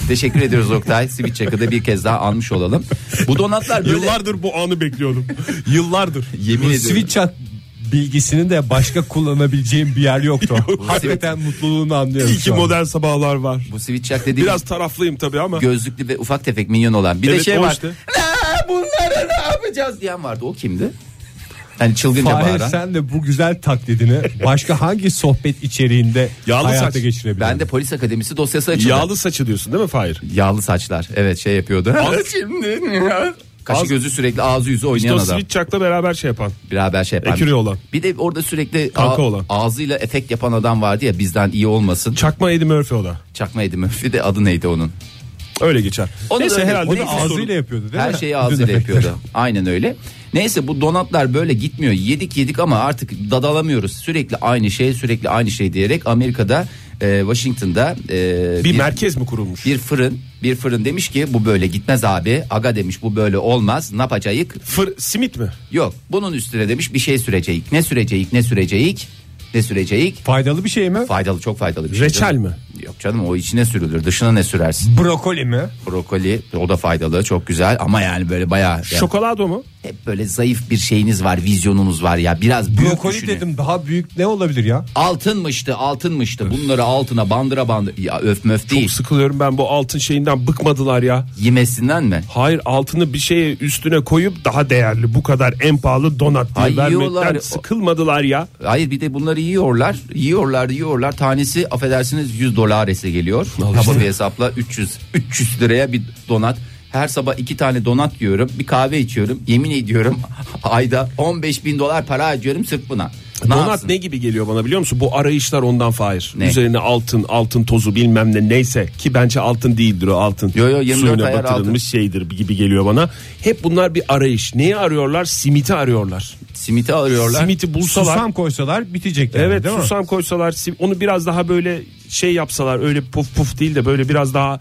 Teşekkür (laughs) ediyoruz Oktay. Sivit Çakı'da bir kez daha almış olalım. Bu donatlar böyle Yıllardır bu anı (laughs) bekliyordum. Yıllardır. yemin Bu ediyorum. switch chat bilgisini de başka kullanabileceğim bir yer yoktu. (laughs) Hakikaten mutluluğunu anlıyorum. İyi ki şu anda. modern sabahlar var. Bu Sivit Çak dediğim Biraz taraflıyım tabii ama. gözlüklü ve ufak tefek minyon olan. Bir de Evet, şey o var. işte. "Aa, Bunları ne yapacağız diyen vardı. O kimdi? Yani çılgınca Fahir bağıran. sen de bu güzel (laughs) taklidini başka hangi sohbet içeriğinde Yağlı hayata saç. geçirebilirdin? Ben de polis akademisi dosyası açıldı. Yağlı, Yağlı saçı diyorsun değil mi Fahir? saçlar. Evet şey yapıyordu. (laughs) Şimdi Kaşı Az- gözü sürekli ağzı yüzü İşte oynayan o adam. Switchak'la beraber şey yapan. Beraber şey yapan. Ekürü olan. Bir de orada sürekli Kanka a- olan. ağzıyla efekt yapan adam vardı ya bizden iyi olmasın. Çakma Eddie Murphy o da. Çakma Eddie Murphy de adı neydi onun? Öyle geçer. Onu da Neyse öyle- herhalde onu bir da sorun. Ağzıyla yapıyordu değil mi? Her şeyi ağzıyla Bütün yapıyordu. Aynen öyle. Neyse bu donatlar böyle gitmiyor. Yedik yedik ama artık dadalamıyoruz. Sürekli aynı şey sürekli aynı şey diyerek Amerika'da e, Washington'da e, bir merkez mi kurulmuş? bir fırın bir fırın demiş ki bu böyle gitmez abi. Aga demiş bu böyle olmaz. Ne yapacağız? Fır, simit mi? Yok. Bunun üstüne demiş bir şey süreceğiz. Ne süreceğiz? Ne süreceğiz? Ne süreceğiz? (laughs) Faydalı bir şey mi? Faydalı çok faydalı bir şey. Reçel mi? Yok canım o içine sürülür. Dışına ne sürersin? Brokoli mi? Brokoli o da faydalı çok güzel ama yani böyle bayağı yani Şokolado mu? hep E, böyle zayıf bir şeyiniz var, vizyonunuz var ya. Biraz büyük Brokoli düşünün. dedim daha büyük ne olabilir ya? Altınmıştı, altınmıştı. Bunları altına bandıra bandıra ya öf möf değil. Çok sıkılıyorum ben bu altın şeyinden bıkmadılar ya. Yemesinden mi? Hayır altını bir şeye üstüne koyup daha değerli bu kadar en pahalı donat diye Ay, vermekten yiyorlar. sıkılmadılar ya. Hayır bir de bunları yiyorlar. Yiyorlar, yiyorlar. Tanesi affedersiniz 100 dolarese geliyor. Kaba bir hesapla 300 300 liraya bir donat. Her sabah iki tane donat yiyorum. Bir kahve içiyorum. Yemin ediyorum (laughs) ayda 15 bin dolar para harcıyorum sırf buna. Ne donat yapsın? ne gibi geliyor bana biliyor musun? Bu arayışlar ondan fair. Ne? Üzerine altın, altın tozu bilmem ne neyse ki bence altın değildir o altın. Yo, yo, 24 Suyuna ayar batırılmış şeydir gibi geliyor bana. Hep bunlar bir arayış. Neyi arıyorlar? Simiti arıyorlar. Simiti arıyorlar. Simiti bulsalar. Susam koysalar bitecek yani, Evet değil mi? susam koysalar sim- onu biraz daha böyle şey yapsalar öyle puf puf değil de böyle biraz daha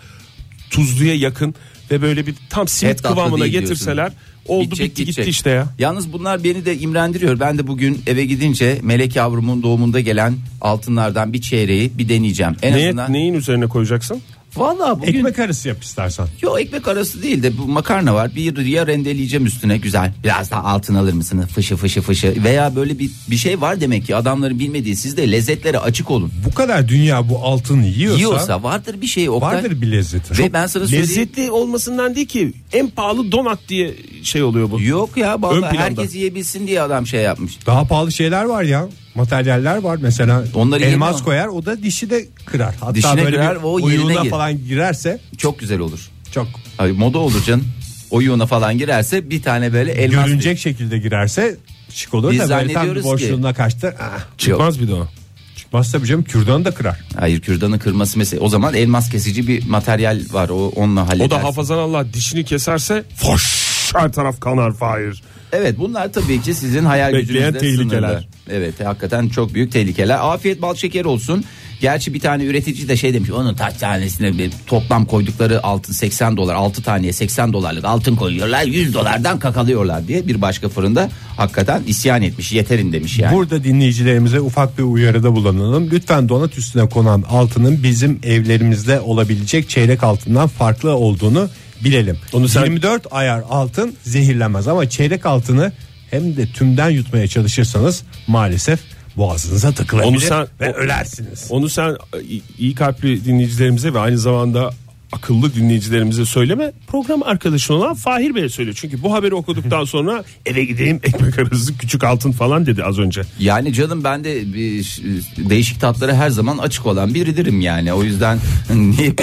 tuzluya yakın ve böyle bir tam simit Et tatlı kıvamına değil getirseler diyorsun. oldu Gidecek, bitti gitti gidecek. işte ya. Yalnız bunlar beni de imrendiriyor. Ben de bugün eve gidince Melek yavrumun doğumunda gelen altınlardan bir çeyreği bir deneyeceğim. En Ne, azından. neyin üzerine koyacaksın? Valla bugün Ekmek arası yap istersen. Yo ekmek arası değil de bu makarna var. Bir riya rendeleyeceğim üstüne güzel. Biraz daha altın alır mısınız? Fışı fışı fışı. Veya böyle bir bir şey var demek ki adamların bilmediği. Siz de lezzetlere açık olun. Bu kadar dünya bu altını yiyorsa, Yiyorsa vardır bir şey Oktay. vardır bir lezzeti. Ve ben sana söyleyeyim. Lezzetli olmasından değil ki en pahalı donat diye şey oluyor bu? Yok ya Ön vallahi planda. herkes yiyebilsin diye adam şey yapmış. Daha pahalı şeyler var ya. Materyaller var mesela. Onları elmas yemiyor. koyar o da dişi de kırar. Hatta Dişine böyle kırar, bir o yerine uyuğuna gir- falan girerse Çok güzel olur. çok Ay, moda olur canım. Oyuna falan girerse bir tane böyle elmas görünecek şekilde girerse şık olur Biz da böyle tam zannediyoruz ki- boşluğuna kaçtı. Ah, Yok. Çıkmaz bir de o. çıkmaz tabii canım kürdanı da kırar. Hayır kürdanı kırması mesela. O zaman elmas kesici bir materyal var. O onunla O halledersin. da hafazan Allah dişini keserse foş her taraf kanar fahir. Evet bunlar tabii ki sizin hayal Bekleyen gücünüzde sınırlı. tehlikeler. Evet hakikaten çok büyük tehlikeler. Afiyet bal şeker olsun. Gerçi bir tane üretici de şey demiş onun taş tanesine bir toplam koydukları altın 80 dolar 6 taneye 80 dolarlık altın koyuyorlar 100 dolardan kakalıyorlar diye bir başka fırında hakikaten isyan etmiş yeterin demiş yani. Burada dinleyicilerimize ufak bir uyarıda bulunalım. Lütfen donat üstüne konan altının bizim evlerimizde olabilecek çeyrek altından farklı olduğunu bilelim. Onu sen- 24 ayar altın zehirlenmez ama çeyrek altını hem de tümden yutmaya çalışırsanız maalesef boğazınıza takılabilir Onu sen- ve o- ölersiniz. Onu sen e, i- iyi kalpli dinleyicilerimize ve aynı zamanda akıllı dinleyicilerimize söyleme. Program arkadaşın olan Fahir Bey'e söyle. Çünkü bu haberi okuduktan sonra eve gideyim ekmek arası küçük altın falan dedi az önce. Yani canım ben de bir, ş- değişik tatlara her zaman açık olan biridirim yani o yüzden (laughs) niye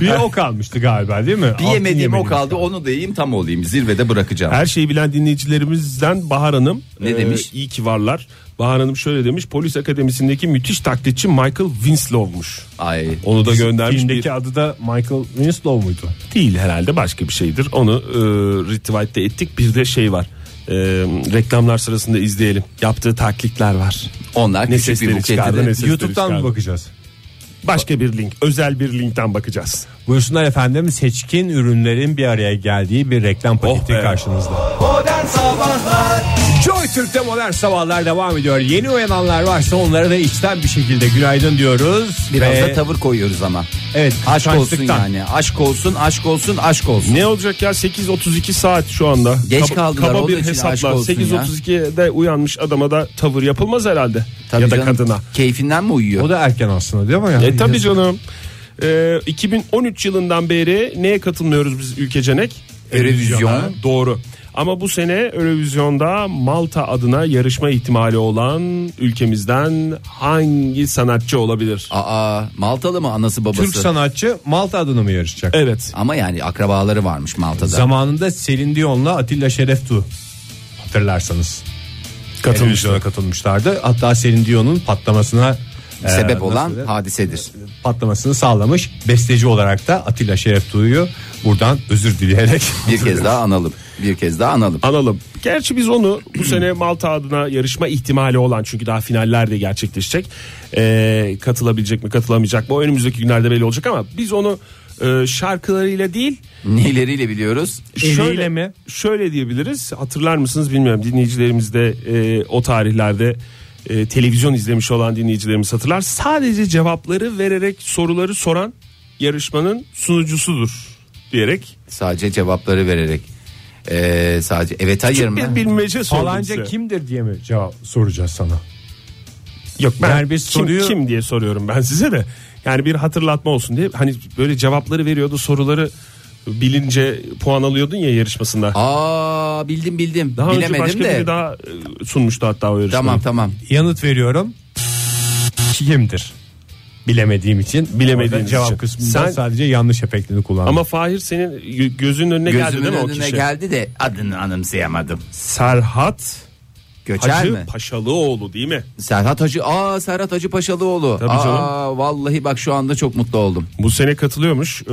Bir o kalmıştı galiba değil mi? bir Altın yemediğim o yemediğimiz kaldı onu da yiyeyim tam olayım zirvede bırakacağım. Her şeyi bilen dinleyicilerimizden Bahar Hanım. Ne demiş? İyi ki varlar. Bahar Hanım şöyle demiş. Polis Akademisi'ndeki müthiş taklitçi Michael Winslow'muş. Ay. Onu da göndermiş. Filmdeki bir- adı da Michael Winslow muydu? değil herhalde başka bir şeydir. Onu e, retweet'te ettik. Bir de şey var. E, reklamlar sırasında izleyelim. Yaptığı taklitler var. Onlar Ne küçük bir sesleri buketi çıkardı, de- ne- Sesleri YouTube'dan mı çıkardım. bakacağız? Başka bir link, özel bir linkten bakacağız. Buyursunlar efendim seçkin ürünlerin bir araya geldiği bir reklam paketi Oh be. karşınızda. Joy Türk'te modern sabahlar devam ediyor. Yeni uyananlar varsa onlara da içten bir şekilde günaydın diyoruz. Biraz Ve- da tavır koyuyoruz ama. Evet Aşk olsun kıskançlıktan. yani. Aşk olsun, aşk olsun, aşk olsun. Ne olacak ya 8.32 saat şu anda. Geç kaldılar, Kaba onun bir için hesapla aşk olsun 8.32'de uyanmış adama da tavır yapılmaz herhalde. Tabii ya da canım, kadına. Keyfinden mi uyuyor? O da erken aslında değil mi? Ya? E tabii canım. Ee, 2013 yılından beri neye katılmıyoruz biz ülkecenek? Eurovision. Eurovision'a. Doğru. Ama bu sene Eurovision'da Malta adına yarışma ihtimali olan ülkemizden hangi sanatçı olabilir? Aa, Maltalı mı anası babası? Türk sanatçı Malta adına mı yarışacak? Evet. Ama yani akrabaları varmış Malta'da. Zamanında Selin Dion'la Atilla Şereftu hatırlarsanız. Katılmışlar. Televizyona katılmışlardı. Hatta Selin Dion'un patlamasına e, Sebep nasıl olan denir? hadisedir. patlamasını sağlamış. Besteci olarak da Atilla Şeref Tuğ'yu buradan özür (laughs) dileyerek. Bir kez daha analım. Bir kez daha analım. Analım. Gerçi biz onu bu sene Malta adına yarışma ihtimali olan çünkü daha finaller de gerçekleşecek. Ee, katılabilecek mi katılamayacak mı o önümüzdeki günlerde belli olacak ama biz onu e, şarkılarıyla değil Neyleriyle biliyoruz? Eliyle Şöyle, mi? Şöyle diyebiliriz. Hatırlar mısınız bilmiyorum. Dinleyicilerimiz de e, o tarihlerde e, televizyon izlemiş olan dinleyicilerimiz hatırlar. Sadece cevapları vererek soruları soran yarışmanın sunucusudur diyerek. Sadece cevapları vererek. Ee, sadece evet hayır Küçük bir mı? bilmece sordum Falanca size. kimdir diye mi cevap soracağız sana? Yok ben Yani kim, bir soruyu- kim diye soruyorum ben size de. Yani bir hatırlatma olsun diye. Hani böyle cevapları veriyordu soruları bilince puan alıyordun ya yarışmasında. Aa bildim bildim. Daha önce Bilemedim başka de. biri daha e, sunmuştu hatta o yarışmayı. Tamam tamam. Yanıt veriyorum. Kimdir? Bilemediğim için. Bilemediğiniz Orada cevap için. kısmında Sen- sadece yanlış efektini kullandım. Ama Fahir senin gö- gözünün önüne geldi Gözümün değil mi o önüne kişi? geldi de adını anımsayamadım. Serhat Göçer Hacı mi? Paşalıoğlu değil mi? Serhat Hacı aa Serhat Hacı Paşalıoğlu. Tabii aa, canım. Vallahi bak şu anda çok mutlu oldum. Bu sene katılıyormuş. Ee,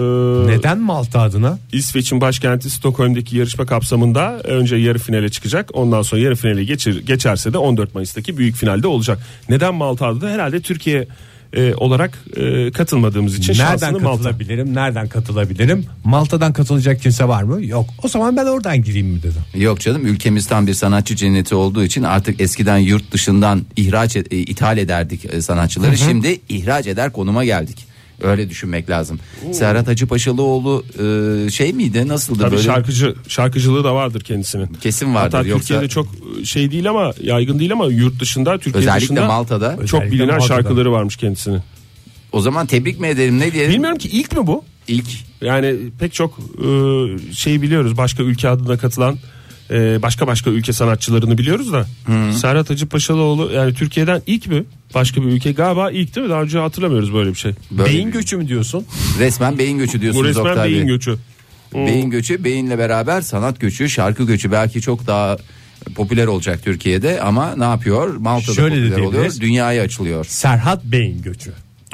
Neden Malta adına? İsveç'in başkenti Stockholm'deki yarışma kapsamında önce yarı finale çıkacak. Ondan sonra yarı finale geçir, geçerse de 14 Mayıs'taki büyük finalde olacak. Neden Malta'da da herhalde Türkiye e, olarak e, katılmadığımız için Nereden şansını Malta. katılabilirim? Nereden katılabilirim? Malta'dan katılacak kimse var mı? Yok. O zaman ben oradan gireyim mi dedim. Yok canım ülkemiz tam bir sanatçı cenneti olduğu için artık eskiden yurt dışından ihraç e, ithal ederdik e, sanatçıları. Şimdi ihraç eder konuma geldik. Öyle düşünmek lazım. Serhat Hacı Paşalıoğlu e, şey miydi? Nasıldı Tabii böyle? şarkıcı şarkıcılığı da vardır kendisinin. Kesin vardır, Hatta yoksa- Türkiye'de çok şey değil ama yaygın değil ama yurt dışında Türkiye Özellikle dışında Malta'da. çok Özellikle bilinen Malta'da. şarkıları varmış kendisinin. O zaman tebrik mi edelim ne diyelim? Bilmiyorum ki ilk mi bu? İlk Yani pek çok e, şeyi biliyoruz. Başka ülke adına katılan e, başka başka ülke sanatçılarını biliyoruz da. Serhat Hacı Paşalıoğlu yani Türkiye'den ilk mi? Başka bir ülke galiba ilk değil mi? Daha önce hatırlamıyoruz böyle bir şey. Böyle Beyin bir- göçü mü diyorsun? resmen beyin göçü Bu diyorsunuz resmen Oktay beyin Bey. göçü. Beyin göçü beyinle beraber sanat göçü, şarkı göçü belki çok daha popüler olacak Türkiye'de ama ne yapıyor? Malta'da Şöyle de popüler oluyor. diyebiliriz. Dünyaya açılıyor. Serhat Beyin göçü.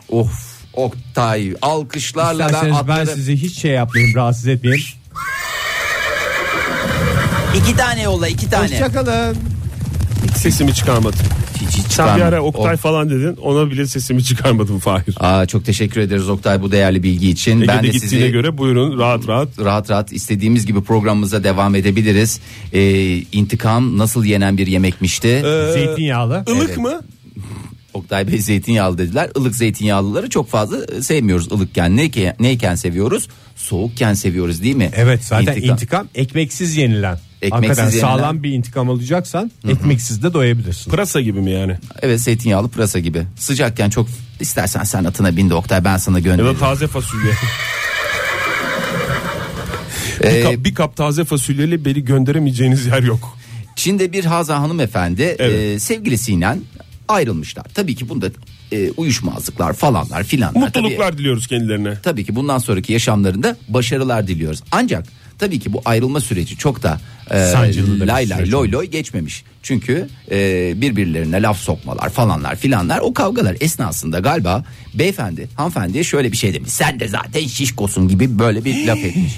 Of Oktay alkışlarla ben İsterseniz ben atları... sizi hiç şey yapmayayım rahatsız etmeyeyim. İki tane yolla iki tane. Hoşçakalın. Hiç sesimi çıkarmadım. Hiç- hiç Sen bir ben- ara Oktay Of. falan dedin. Ona bile sesimi çıkarmadım Fahir. Aa, çok teşekkür ederiz Oktay bu değerli bilgi için. ben Ege'de de gittiğine sizi göre buyurun rahat rahat. rahat rahat istediğimiz gibi programımıza devam edebiliriz. Ee, intikam nasıl yenen bir yemekmişti? Ee, Zeytinyağlı. Ilık Evet. mı? Oktay Bey zeytinyağlı dediler. Ilık zeytinyağlıları çok fazla e, sevmiyoruz ılıkken. Neyken, neyken seviyoruz? Soğukken seviyoruz değil mi? Evet zaten intikam. ekmeksiz yenilen. Ekmeksiz Hakikaten yenilen. sağlam bir intikam alacaksan ekmeksiz de doyabilirsin. Pırasa gibi mi yani? Evet zeytinyağlı pırasa gibi. Sıcakken çok istersen sen atına bin de Oktay ben sana Ya da gönderirim. taze fasulye. Ee, bir, kap, bir kap taze fasulyeyle beni gönderemeyeceğiniz yer yok. Çin'de bir Haza hanımefendi Evet. e, sevgilisiyle ayrılmışlar. Tabii ki bunda e, uyuşmazlıklar falanlar filanlar. Mutluluklar diliyoruz kendilerine. tabii ki bundan sonraki yaşamlarında başarılar diliyoruz. Ancak tabii ki bu ayrılma süreci çok da Sancılı da e, bir lay lay süreç loy loy geçmemiş. Çünkü e, birbirlerine laf sokmalar falanlar filanlar o kavgalar esnasında galiba beyefendi hanımefendiye şöyle bir şey demiş. Sen de zaten şişkosun gibi böyle bir laf (gasps) etmiş.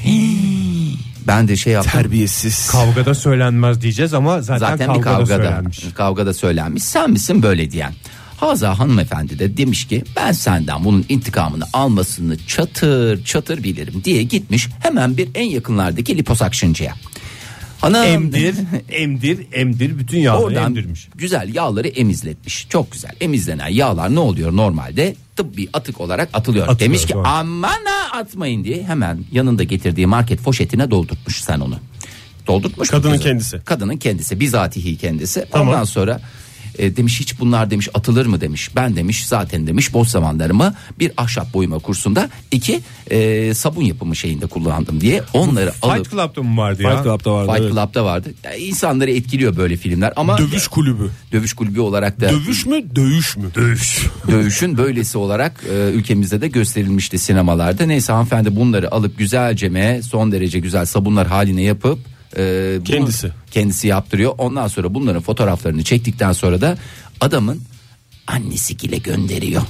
ben de şey yaptım. Terbiyesiz. Kavgada söylenmez diyeceğiz ama zaten, Zaten kavgada, bir kavgada söylenmiş. kavgada söylenmiş. Sen misin böyle diyen? Haza hanımefendi de demiş ki ben senden bunun intikamını almasını çatır çatır bilirim diye gitmiş hemen bir en yakınlardaki liposakşıncıya. Hanım Emdir, emdir, emdir bütün yağları Oradan emdirmiş. güzel yağları emizletmiş. Çok güzel. Emizlenen yağlar ne oluyor normalde? Tıbbi atık olarak atılıyor. Atılıyor, Demiş ki doğru. aman ha atmayın diye hemen yanında getirdiği market foşetine doldurtmuş sen onu. Doldurtmuş. mu Kadının kızı? kendisi. Kadının kendisi bizatihi kendisi. Tamam. Ondan sonra e, demiş hiç bunlar demiş atılır mı demiş. Ben demiş zaten demiş boş zamanlarımı bir ahşap boyama kursunda iki e, sabun yapımı şeyinde kullandım diye onları alıp Fight Club'da mı vardı ya? Fight Club'da vardı. Fight evet. Club'da vardı. Yani insanları etkiliyor böyle filmler ama Dövüş kulübü. dövüş kulübü olarak da Dövüş mü? Dövüş mü? Dövüş. dövüşün böylesi olarak e, ülkemizde de gösterilmişti sinemalarda. Neyse hanımefendi bunları alıp güzelceme son derece güzel sabunlar haline yapıp e, bunu Kendisi. kendisi yaptırıyor. Ondan sonra bunların fotoğraflarını çektikten sonra da adamın annesiyle gönderiyor.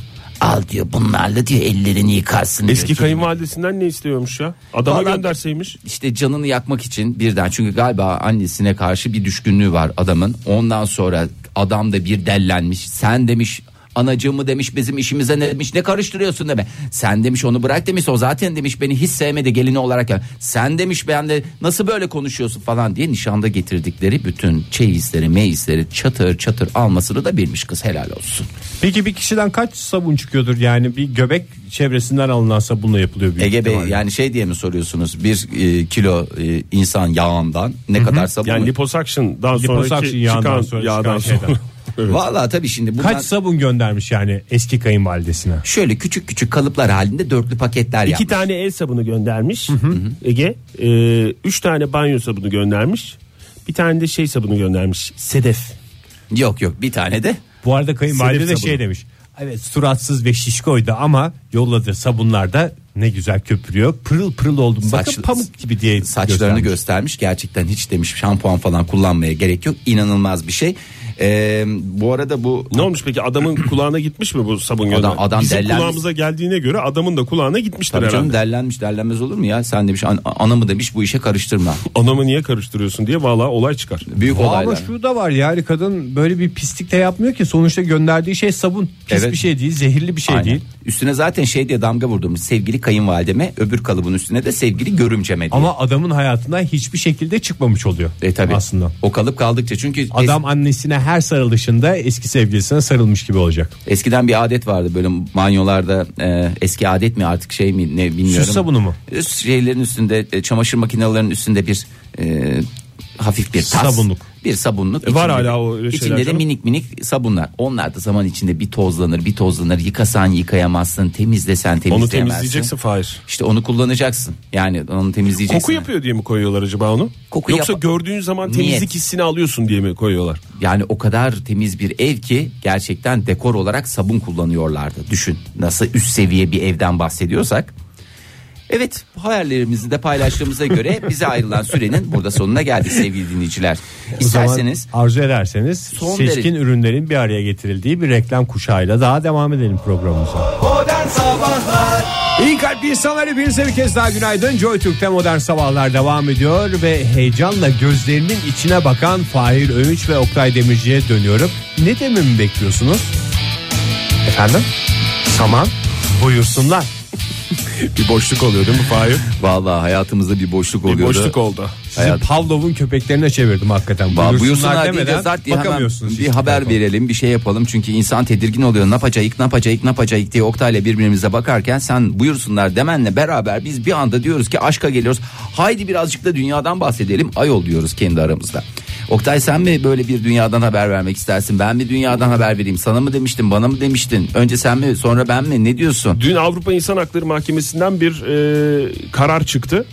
Al diyor bunlarla diyor ellerini yıkarsın diyor. Eski kayınvalidesinden ne istiyormuş ya? Adama Vallahi- gönderseymiş. işte canını yakmak için birden çünkü galiba annesine karşı bir düşkünlüğü var adamın. Ondan sonra adam da bir dellenmiş. Sen demiş anacığımı demiş bizim işimize ne demiş ne karıştırıyorsun deme. Sen demiş onu bırak demiş o zaten demiş beni hiç sevmedi gelini olarak. ya. Sen demiş ben de nasıl böyle konuşuyorsun falan diye nişanda getirdikleri bütün çeyizleri meyizleri çatır çatır almasını da bilmiş kız helal olsun. Peki bir kişiden kaç sabun çıkıyordur yani bir göbek çevresinden alınan sabunla yapılıyor büyük Ege Bey ihtimalle. yani şey diye mi soruyorsunuz bir e, kilo e, insan yağından ne kadar sabun Yani liposuction'dan Liposuction sonraki yağından çıkan sonra yağdan çıkan sonra. şeyden. Evet. Vallahi tabii şimdi bundan... Kaç sabun göndermiş yani eski kayınvalidesine? Şöyle küçük küçük kalıplar halinde dörtlü paketler İki yapmış. tane el sabunu göndermiş Ege. E, üç tane banyo sabunu göndermiş. Bir tane de şey sabunu göndermiş. Sedef. Yok yok bir tane de. Bu arada kayınvalide Sedef de sabunu. şey demiş. Evet suratsız ve şişkoydu ama yolladığı sabunlar da ne güzel köpürüyor. Pırıl pırıl oldum Saç- bakın pamuk gibi diye Saçlarını göstermiş. Gerçekten hiç demiş şampuan falan kullanmaya gerek yok. İnanılmaz bir şey. Ee, bu arada bu Ne olmuş peki adamın (clears throat) kulağına gitmiş mi bu sabun gönder? Adam- adam Bizim dellenmiş. kulağımıza geldiğine göre adamın da kulağına gitmiştir Tabii herhalde. canım derlenmiş derlenmez olur mu ya? Sen demiş an, anamı demiş bu işe karıştırma. Anamı niye karıştırıyorsun diye valla olay çıkar. Büyük Aa, Ama olaylar. şu şey da var yani kadın böyle bir pislik de yapmıyor ki sonuçta gönderdiği şey sabun. Pis Evet. bir şey değil, zehirli bir şey Aynen. değil. Üstüne zaten şey diye damga vurdum. Sevgili kayınvalideme öbür kalıbın üstüne de sevgili görümceme diye. Ama adamın hayatından hiçbir şekilde çıkmamış oluyor. E tabii. Aslında. O kalıp kaldıkça çünkü Adam annesine her sarılışında eski sevgilisine sarılmış gibi olacak. Eskiden bir adet vardı böyle banyolarda e, eski adet mi artık şey mi ne bilmiyorum. Süs sabunu mu? Üst şeylerin üstünde e, çamaşır makinelerinin üstünde bir e, hafif bir tas. Sabunluk. Bir sabunluk. E, var İçinde hala de- o öyle şeyler İçinde de canım. minik minik sabunlar. Onlar da zaman içinde bir tozlanır bir tozlanır. Yıkasan yıkayamazsın temizlesen Onu temizleyemezsin. temizleyeceksin Fahir. İşte onu kullanacaksın. Yani onu temizleyeceksin. Koku yapıyor diye mi koyuyorlar acaba onu? Koku Yoksa yap- gördüğün zaman temizlik Niyet. hissini alıyorsun diye mi koyuyorlar? Yani o kadar temiz bir ev ki gerçekten dekor olarak sabun kullanıyorlardı. Düşün nasıl üst seviye bir evden bahsediyorsak. Evet hayallerimizi de paylaştığımıza (laughs) göre bize ayrılan sürenin burada sonuna geldik sevgili dinleyiciler. O zaman İsterseniz arzu ederseniz Son seçkin derece- ürünlerin bir araya getirildiği bir reklam kuşağıyla daha devam edelim programımıza. İyi kalp insanlar hepinize bir kez daha günaydın. Joy Türk'te modern sabahlar devam ediyor ve heyecanla gözlerinin içine bakan Fahir Öğünç ve Oktay Demirci'ye dönüyorum. Ne dememi bekliyorsunuz? Efendim? Saman buyursunlar. Bir boşluk oluyor değil mi Fahir? vallahi hayatımızda bir boşluk Bir oluyordu. boşluk oldu. Sizi Pavlov'un köpeklerine çevirdim hakikaten. Vallahi Buyursunlar buyursunlar diye demeden de zart diye hemen bakamıyorsunuz. bir hiçbir haber tarafa. verelim bir şey yapalım çünkü insan tedirgin oluyor ne yapacağız ne yapacağız ne yapacağız diye Oktay'la birbirimize bakarken sen buyursunlar demenle beraber biz bir anda diyoruz ki aşka geliyoruz haydi birazcık da dünyadan bahsedelim ayol diyoruz kendi aramızda. Oktay sen mi böyle bir dünyadan haber vermek istersin ben mi dünyadan haber vereyim sana mı demiştin bana mı demiştin önce sen mi sonra ben mi ne diyorsun? Dün Avrupa İnsan Hakları Mahkemesi'nden bir e, karar çıktı.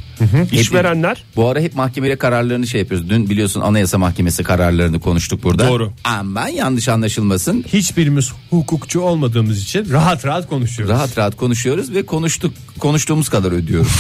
İşverenler Bu ara hep mahkemeyle kararlarını şey yapıyoruz. Dün biliyorsun Anayasa Mahkemesi kararlarını konuştuk burada. Doğru. Aman yanlış anlaşılmasın. Hiçbirimiz hukukçu olmadığımız için rahat rahat konuşuyoruz. Rahat rahat konuşuyoruz ve konuştuk konuştuğumuz kadar ödüyoruz.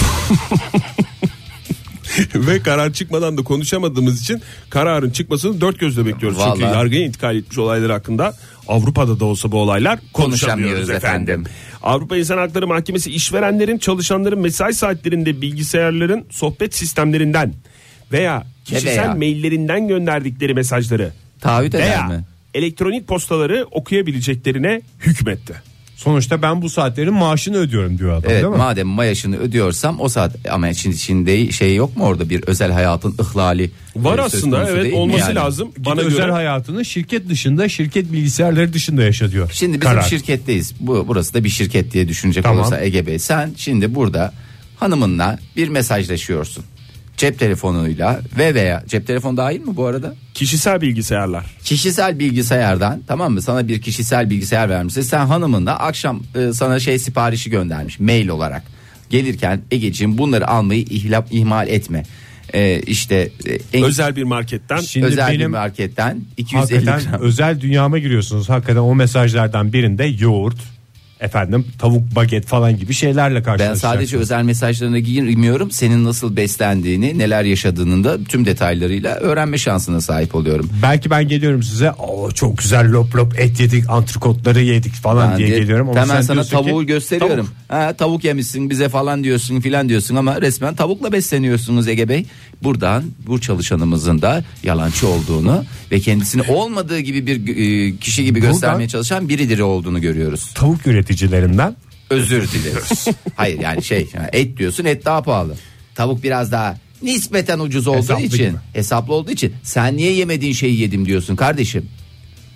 ve karar çıkmadan da konuşamadığımız için kararın çıkmasını dört gözle bekliyoruz. Çünkü Vallahi. yargıya intikal etmiş olaylar hakkında Avrupa'da da olsa bu olaylar konuşamıyoruz Konuşamıyoruz efendim. efendim. Avrupa İnsan Hakları Mahkemesi işverenlerin, çalışanların mesai saatlerinde bilgisayarların sohbet sistemlerinden veya kişisel veya. maillerinden gönderdikleri mesajları Taahhüt eder veya mi? elektronik postaları okuyabileceklerine hükmetti. Sonuçta ben bu saatlerin maaşını ödüyorum diyor adam Evet değil mi? madem mayaşını ödüyorsam o saat ama şimdi, şimdi şey yok mu orada bir özel hayatın ihlali? Var e, söz aslında konusu evet değil mi olması yani? lazım. Git Bana özel göre hayatını şirket dışında şirket bilgisayarları dışında yaşa diyor. Şimdi bizim Karar. şirketteyiz. Bu burası da bir şirket diye düşünecek Tamam. olursa Ege Bey sen şimdi burada hanımınla bir mesajlaşıyorsun. Cep telefonuyla ve veya cep telefonu dahil mi bu arada? kişisel bilgisayarlar. kişisel bilgisayardan tamam mı sana bir kişisel bilgisayar vermişse sen hanımınla akşam e, sana şey siparişi göndermiş mail olarak gelirken Egeciğim bunları almayı ihlap ihmal etme E, işte e, en, Özel bir marketten Şimdi özel bir benim marketten 250 hakikaten gram özel dünyama giriyorsunuz. Hakikaten o mesajlardan birinde yoğurt, efendim tavuk baget falan gibi şeylerle ben karşılaşacaksınız. sadece özel mesajlarına girmiyorum senin nasıl beslendiğini neler yaşadığının da tüm detaylarıyla öğrenme şansına sahip oluyorum Belki ben geliyorum size. Aa çok güzel lop lop et yedik, antrikotları yedik falan Ben diye de- geliyorum. Ama Hemen sen sana diyorsun ki, tavuğu gösteriyorum. "Tavuk." Ha, tavuk yemişsin bize falan diyorsun filan diyorsun ama resmen tavukla besleniyorsunuz Ege Bey. Buradan bu çalışanımızın da yalancı olduğunu ve kendisini olmadığı gibi bir e, kişi gibi Buradan- göstermeye çalışan biridir olduğunu görüyoruz. Tavuk üreticilerinden Özür (laughs) dileriz. Hayır yani şey yani et diyorsun et daha pahalı. Tavuk biraz daha nispeten ucuz olduğu Hesaplı için gibi. hesaplı olduğu için sen niye yemediğin şeyi yedim diyorsun kardeşim.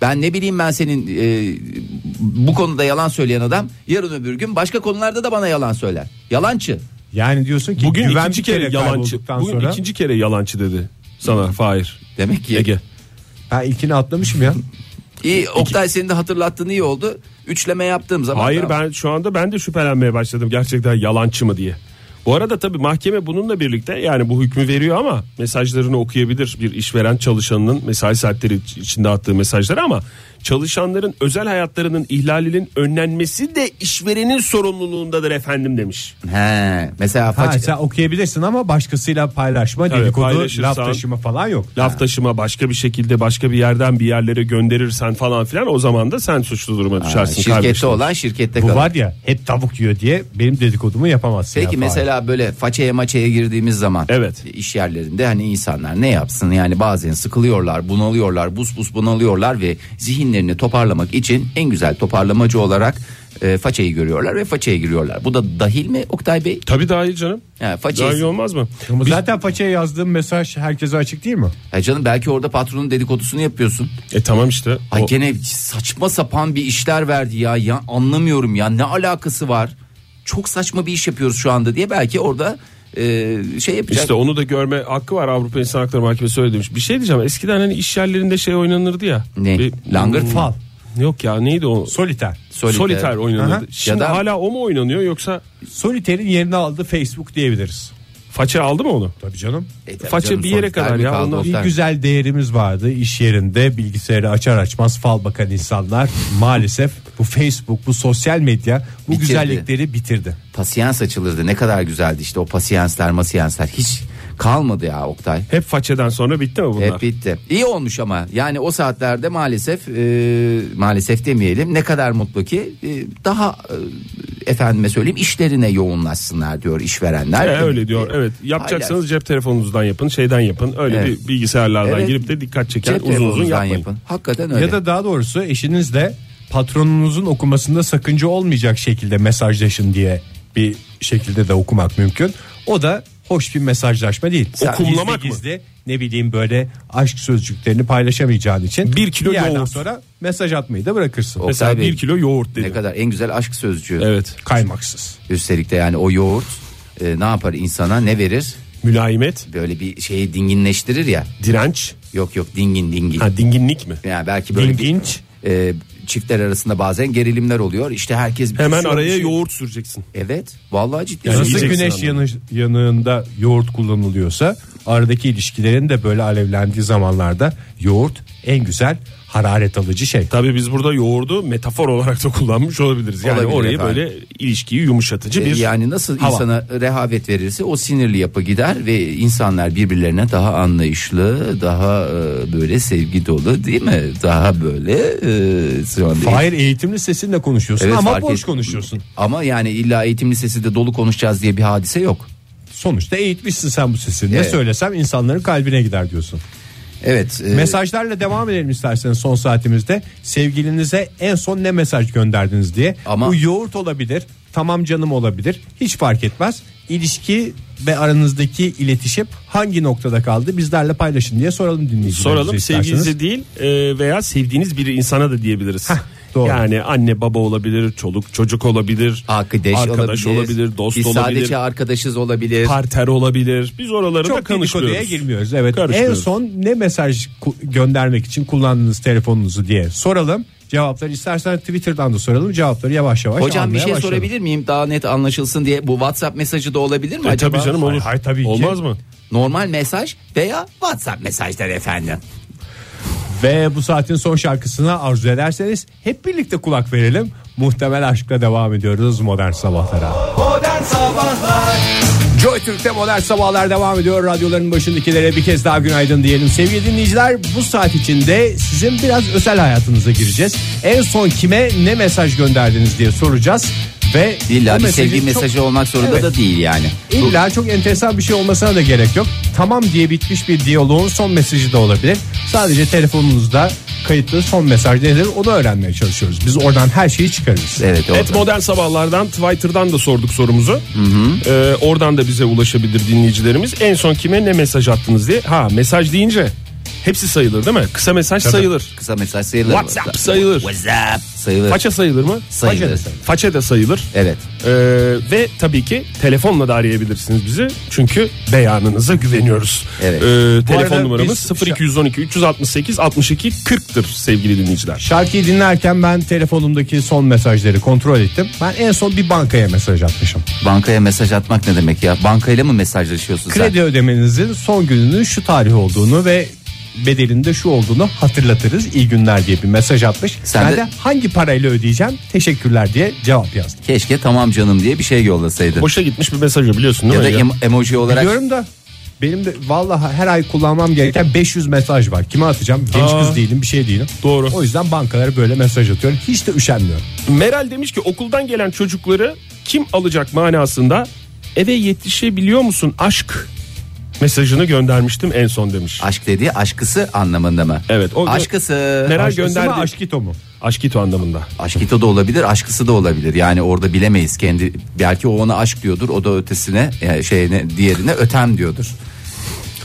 Ben ne bileyim ben senin e, bu konuda yalan söyleyen adam yarın öbür gün başka konularda da bana yalan söyler. Yalancı. yani diyorsun ki Bugün güven ikinci bir kere yalancı. kaybolduktan Bugün sonra ikinci kere yalancı dedi sana Fahir. Demek ki. Ege. ben ilkini atlamışım ya. İyi Oktay senin de hatırlattığın iyi oldu. Üçleme yaptığım zaman. Hayır tamam. ben şu anda ben de şüphelenmeye başladım gerçekten yalancı mı diye. Bu arada tabii mahkeme bununla birlikte yani bu hükmü veriyor ama mesajlarını okuyabilir bir işveren çalışanının mesai saatleri iç- içinde attığı mesajları ama çalışanların özel hayatlarının ihlalinin önlenmesi de işverenin sorumluluğundadır efendim demiş. He, mesela Ha, faç- sen okuyabilirsin ama başkasıyla paylaşma, Tabii, dedikodu, paylaşırsan- laf taşıma falan yok. Laf taşıma başka bir şekilde başka bir yerden bir yerlere gönderirsen falan filan o zaman da sen suçlu duruma Ha, düşersin şirkette kardeşim. olan şirkette Bu kalır. var ya hep tavuk yiyor diye benim dedikodumu yapamazsın. Peki ya Fahir. mesela böyle façeye maçeye girdiğimiz zaman Evet. iş yerlerinde hani insanlar ne yapsın yani bazen sıkılıyorlar bunalıyorlar bus bus bunalıyorlar ve zihinlerini toparlamak için en güzel toparlamacı olarak e, façayı görüyorlar ve façaya giriyorlar. Bu da dahil mi Oktay Bey? Tabii daha iyi canım. Ha, faça- Daha iyi olmaz mı? Ama zaten façaya yazdığım mesaj herkese açık değil mi? Ya canım belki orada patronun dedikodusunu yapıyorsun. E tamam işte. Ay O- gene saçma sapan bir işler verdi ya. ya anlamıyorum ya ne alakası var? Çok saçma bir iş yapıyoruz şu anda diye belki orada e, şey yapacak. İşte onu da görme hakkı var Avrupa İnsan Hakları Mahkemesi öyle demiş. Bir şey diyeceğim eskiden hani iş yerlerinde şey oynanırdı ya. Ne? Bir- Langırt mı? Fal. Yok ya neydi o? Soliter. Solitaire. Solitaire oynanırdı. Aha. Şimdi Ya da- hala o mu oynanıyor yoksa Soliter'in yerini aldı Facebook diyebiliriz. faça aldı mı onu? Tabii canım. E, tabii faça canım, bir yere solitaire kadar mi ya, kaldı, onlar- solitaire. Bir güzel değerimiz vardı iş yerinde bilgisayarı açar açmaz fal bakan insanlar maalesef bu Facebook bu sosyal medya bu Bitirdi. güzellikleri bitirdi. Pasiyans açılırdı ne kadar güzeldi işte o pasiyanslar masiyanslar hiç kalmadı ya Oktay. Hep façeden sonra bitti mi bunlar? Hep bitti. İyi olmuş ama yani o saatlerde maalesef e, maalesef demeyelim ne kadar mutlu ki e, daha e, efendime söyleyeyim işlerine yoğunlaşsınlar diyor işverenler. Ee, öyle diyor. Evet. Yapacaksanız cep telefonunuzdan yapın, şeyden yapın. Öyle Evet. bir bilgisayarlardan Evet. girip de dikkat çeken Cep uzun uzun telefonunuzdan yapmayın. yapın. Hakikaten öyle. Ya da daha doğrusu eşinizle patronunuzun okumasında sakınca olmayacak şekilde mesajlaşın diye bir şekilde de okumak mümkün. O da hoş bir mesajlaşma değil. Sen- Okumlamak gizli, gizli, ne bileyim böyle aşk sözcüklerini paylaşamayacağın için Bir kilo yerden yoğurt. sonra mesaj atmayı da bırakırsın. Oktay Mesela Bey, bir kilo yoğurt ne dedi. kadar en güzel aşk sözcüğü. Evet. Kaymaksız. Üstelik de yani o yoğurt e, ne yapar insana ne verir? Mülayimet, Böyle bir şeyi dinginleştirir ya. direnç, Yok yok dingin dingin. ha, dinginlik mi? Yani belki böyle bir, Dinginç. e, çiftler arasında bazen gerilimler oluyor. İşte herkes bir Hemen şey araya olmuş. yoğurt süreceksin. Evet. Vallahi ciddi. Yani Nasıl yiyeceksin güneş ama. yanı, yanığında yoğurt kullanılıyorsa aradaki ilişkilerin de böyle alevlendiği zamanlarda yoğurt en güzel hararet alıcı şey. Tabii biz burada yoğurdu metafor olarak da kullanmış olabiliriz. Yani Olabilir oraya efendim. E, böyle ilişkiyi yumuşatıcı bir yani nasıl hava. insana rehavet verirse o sinirli yapı gider ve insanlar birbirlerine daha anlayışlı, daha e, böyle sevgi dolu değil mi? Daha böyle e, şu anda- Hayır eğitimli sesinle konuşuyorsun Evet, ama fark boş et- konuşuyorsun. Ama yani illa eğitim lisesi de dolu konuşacağız diye bir hadise yok. Sonuçta eğitmişsin sen bu sesi. Ne Evet. söylesem insanların kalbine gider diyorsun. Evet. e, Mesajlarla devam edelim isterseniz son saatimizde. Sevgilinize en son ne mesaj gönderdiniz diye. Ama- Bu yoğurt olabilir, tamam canım olabilir. Hiç fark etmez. İlişki ve aranızdaki iletişim hangi noktada kaldı bizlerle paylaşın diye soralım dinleyicilerimize Soralım şey isterseniz. sevginize değil e, veya sevdiğiniz bir insana da diyebiliriz. doğru. Yani anne baba olabilir, çoluk çocuk olabilir, arkadaş, arkadaş olabilir, dost Biz olabilir, sadece arkadaşız olabilir. partner olabilir. Biz oraları da Çok dedikoduya konuşmuyoruz. girmiyoruz. Evet. En Karışmıyoruz. son ne mesaj ku- göndermek için kullandığınız telefonunuzu diye soralım. Cevapları istersen Twitter'dan da soralım. Cevapları yavaş yavaş Hocam bir almaya şey başlayalım. sorabilir miyim? Daha net anlaşılsın diye bu WhatsApp mesajı da olabilir mi E, acaba? tabii canım olur. Hayır, hayır, tabii ki. Olmaz mı? Normal mesaj veya WhatsApp mesajları efendim. Ve bu saatin son şarkısına arzu ederseniz hep birlikte kulak verelim. Muhtemel aşkla devam ediyoruz modern sabahlara. Modern Sabahlar Joy Türk'te modern sabahlar devam ediyor. Radyoların başındakilere bir kez daha günaydın diyelim. Sevgili dinleyiciler bu saat içinde sizin biraz özel hayatınıza gireceğiz. En son kime ne mesaj gönderdiniz diye soracağız. Ve İlla bu bir mesajın sevgi çok- mesajı olmak zorunda Evet. da değil yani. Bu- İlla çok enteresan bir şey olmasına da gerek yok. Tamam diye bitmiş bir diyaloğun son mesajı da olabilir. Sadece telefonunuzda kayıtlı son mesaj nedir onu öğrenmeye çalışıyoruz. Biz oradan her şeyi çıkarırız. Et Evet, oldu. modern sabahlardan Twitter'dan da sorduk sorumuzu. E, oradan da bize ulaşabilir dinleyicilerimiz. En son kime ne mesaj attınız diye. Ha mesaj deyince hepsi sayılır değil mi? Kısa mesaj sayılır. kısa mesaj sayılır. WhatsApp sayılır. WhatsApp sayılır. Faça sayılır mı? Sayılır. Faça da Faça da sayılır. Evet. Ee, ve tabii ki telefonla da arayabilirsiniz bizi. Çünkü beyanınıza güveniyoruz. Evet. Ee, arada telefon numaramız biz- 0212 368 62 40'tır sevgili dinleyiciler. Şarkıyı dinlerken ben telefonumdaki son mesajları kontrol ettim. Ben en son bir bankaya mesaj atmışım. Bankaya mesaj atmak ne demek ya? Bankayla mı mesajlaşıyorsun sen? Kredi ödemenizin son gününün şu tarih olduğunu ve bedelinde şu olduğunu hatırlatırız. İyi günler diye bir mesaj atmış. Sen ben de- de hangi parayla ödeyeceğim? Teşekkürler diye cevap yazdım. Keşke tamam canım diye bir şey yollasaydın. Boşa gitmiş bir mesajı biliyorsun değil ya da mi? Ege? em- emoji olarak Biliyorum da benim de vallahi her ay kullanmam gereken 500 mesaj var. Kime atacağım? Genç Aa. kız değilim, bir şey değilim. Doğru. O yüzden bankalara böyle mesaj atıyorum. Hiç de üşenmiyorum. Meral demiş ki okuldan gelen çocukları kim alacak manasında eve yetişebiliyor musun aşk mesajını göndermiştim en son demiş. aşk dediği aşkısı anlamında mı? Evet, o- aşkısı. Meral Aşkısı mı, gönderdi. aşkito mu? Aşkito anlamında. Aşkito da olabilir, aşkısı da olabilir. Yani orada bilemeyiz kendi. Belki o ona aşk diyordur, o da ötesine, yani şeyine, diğerine ötem diyordur.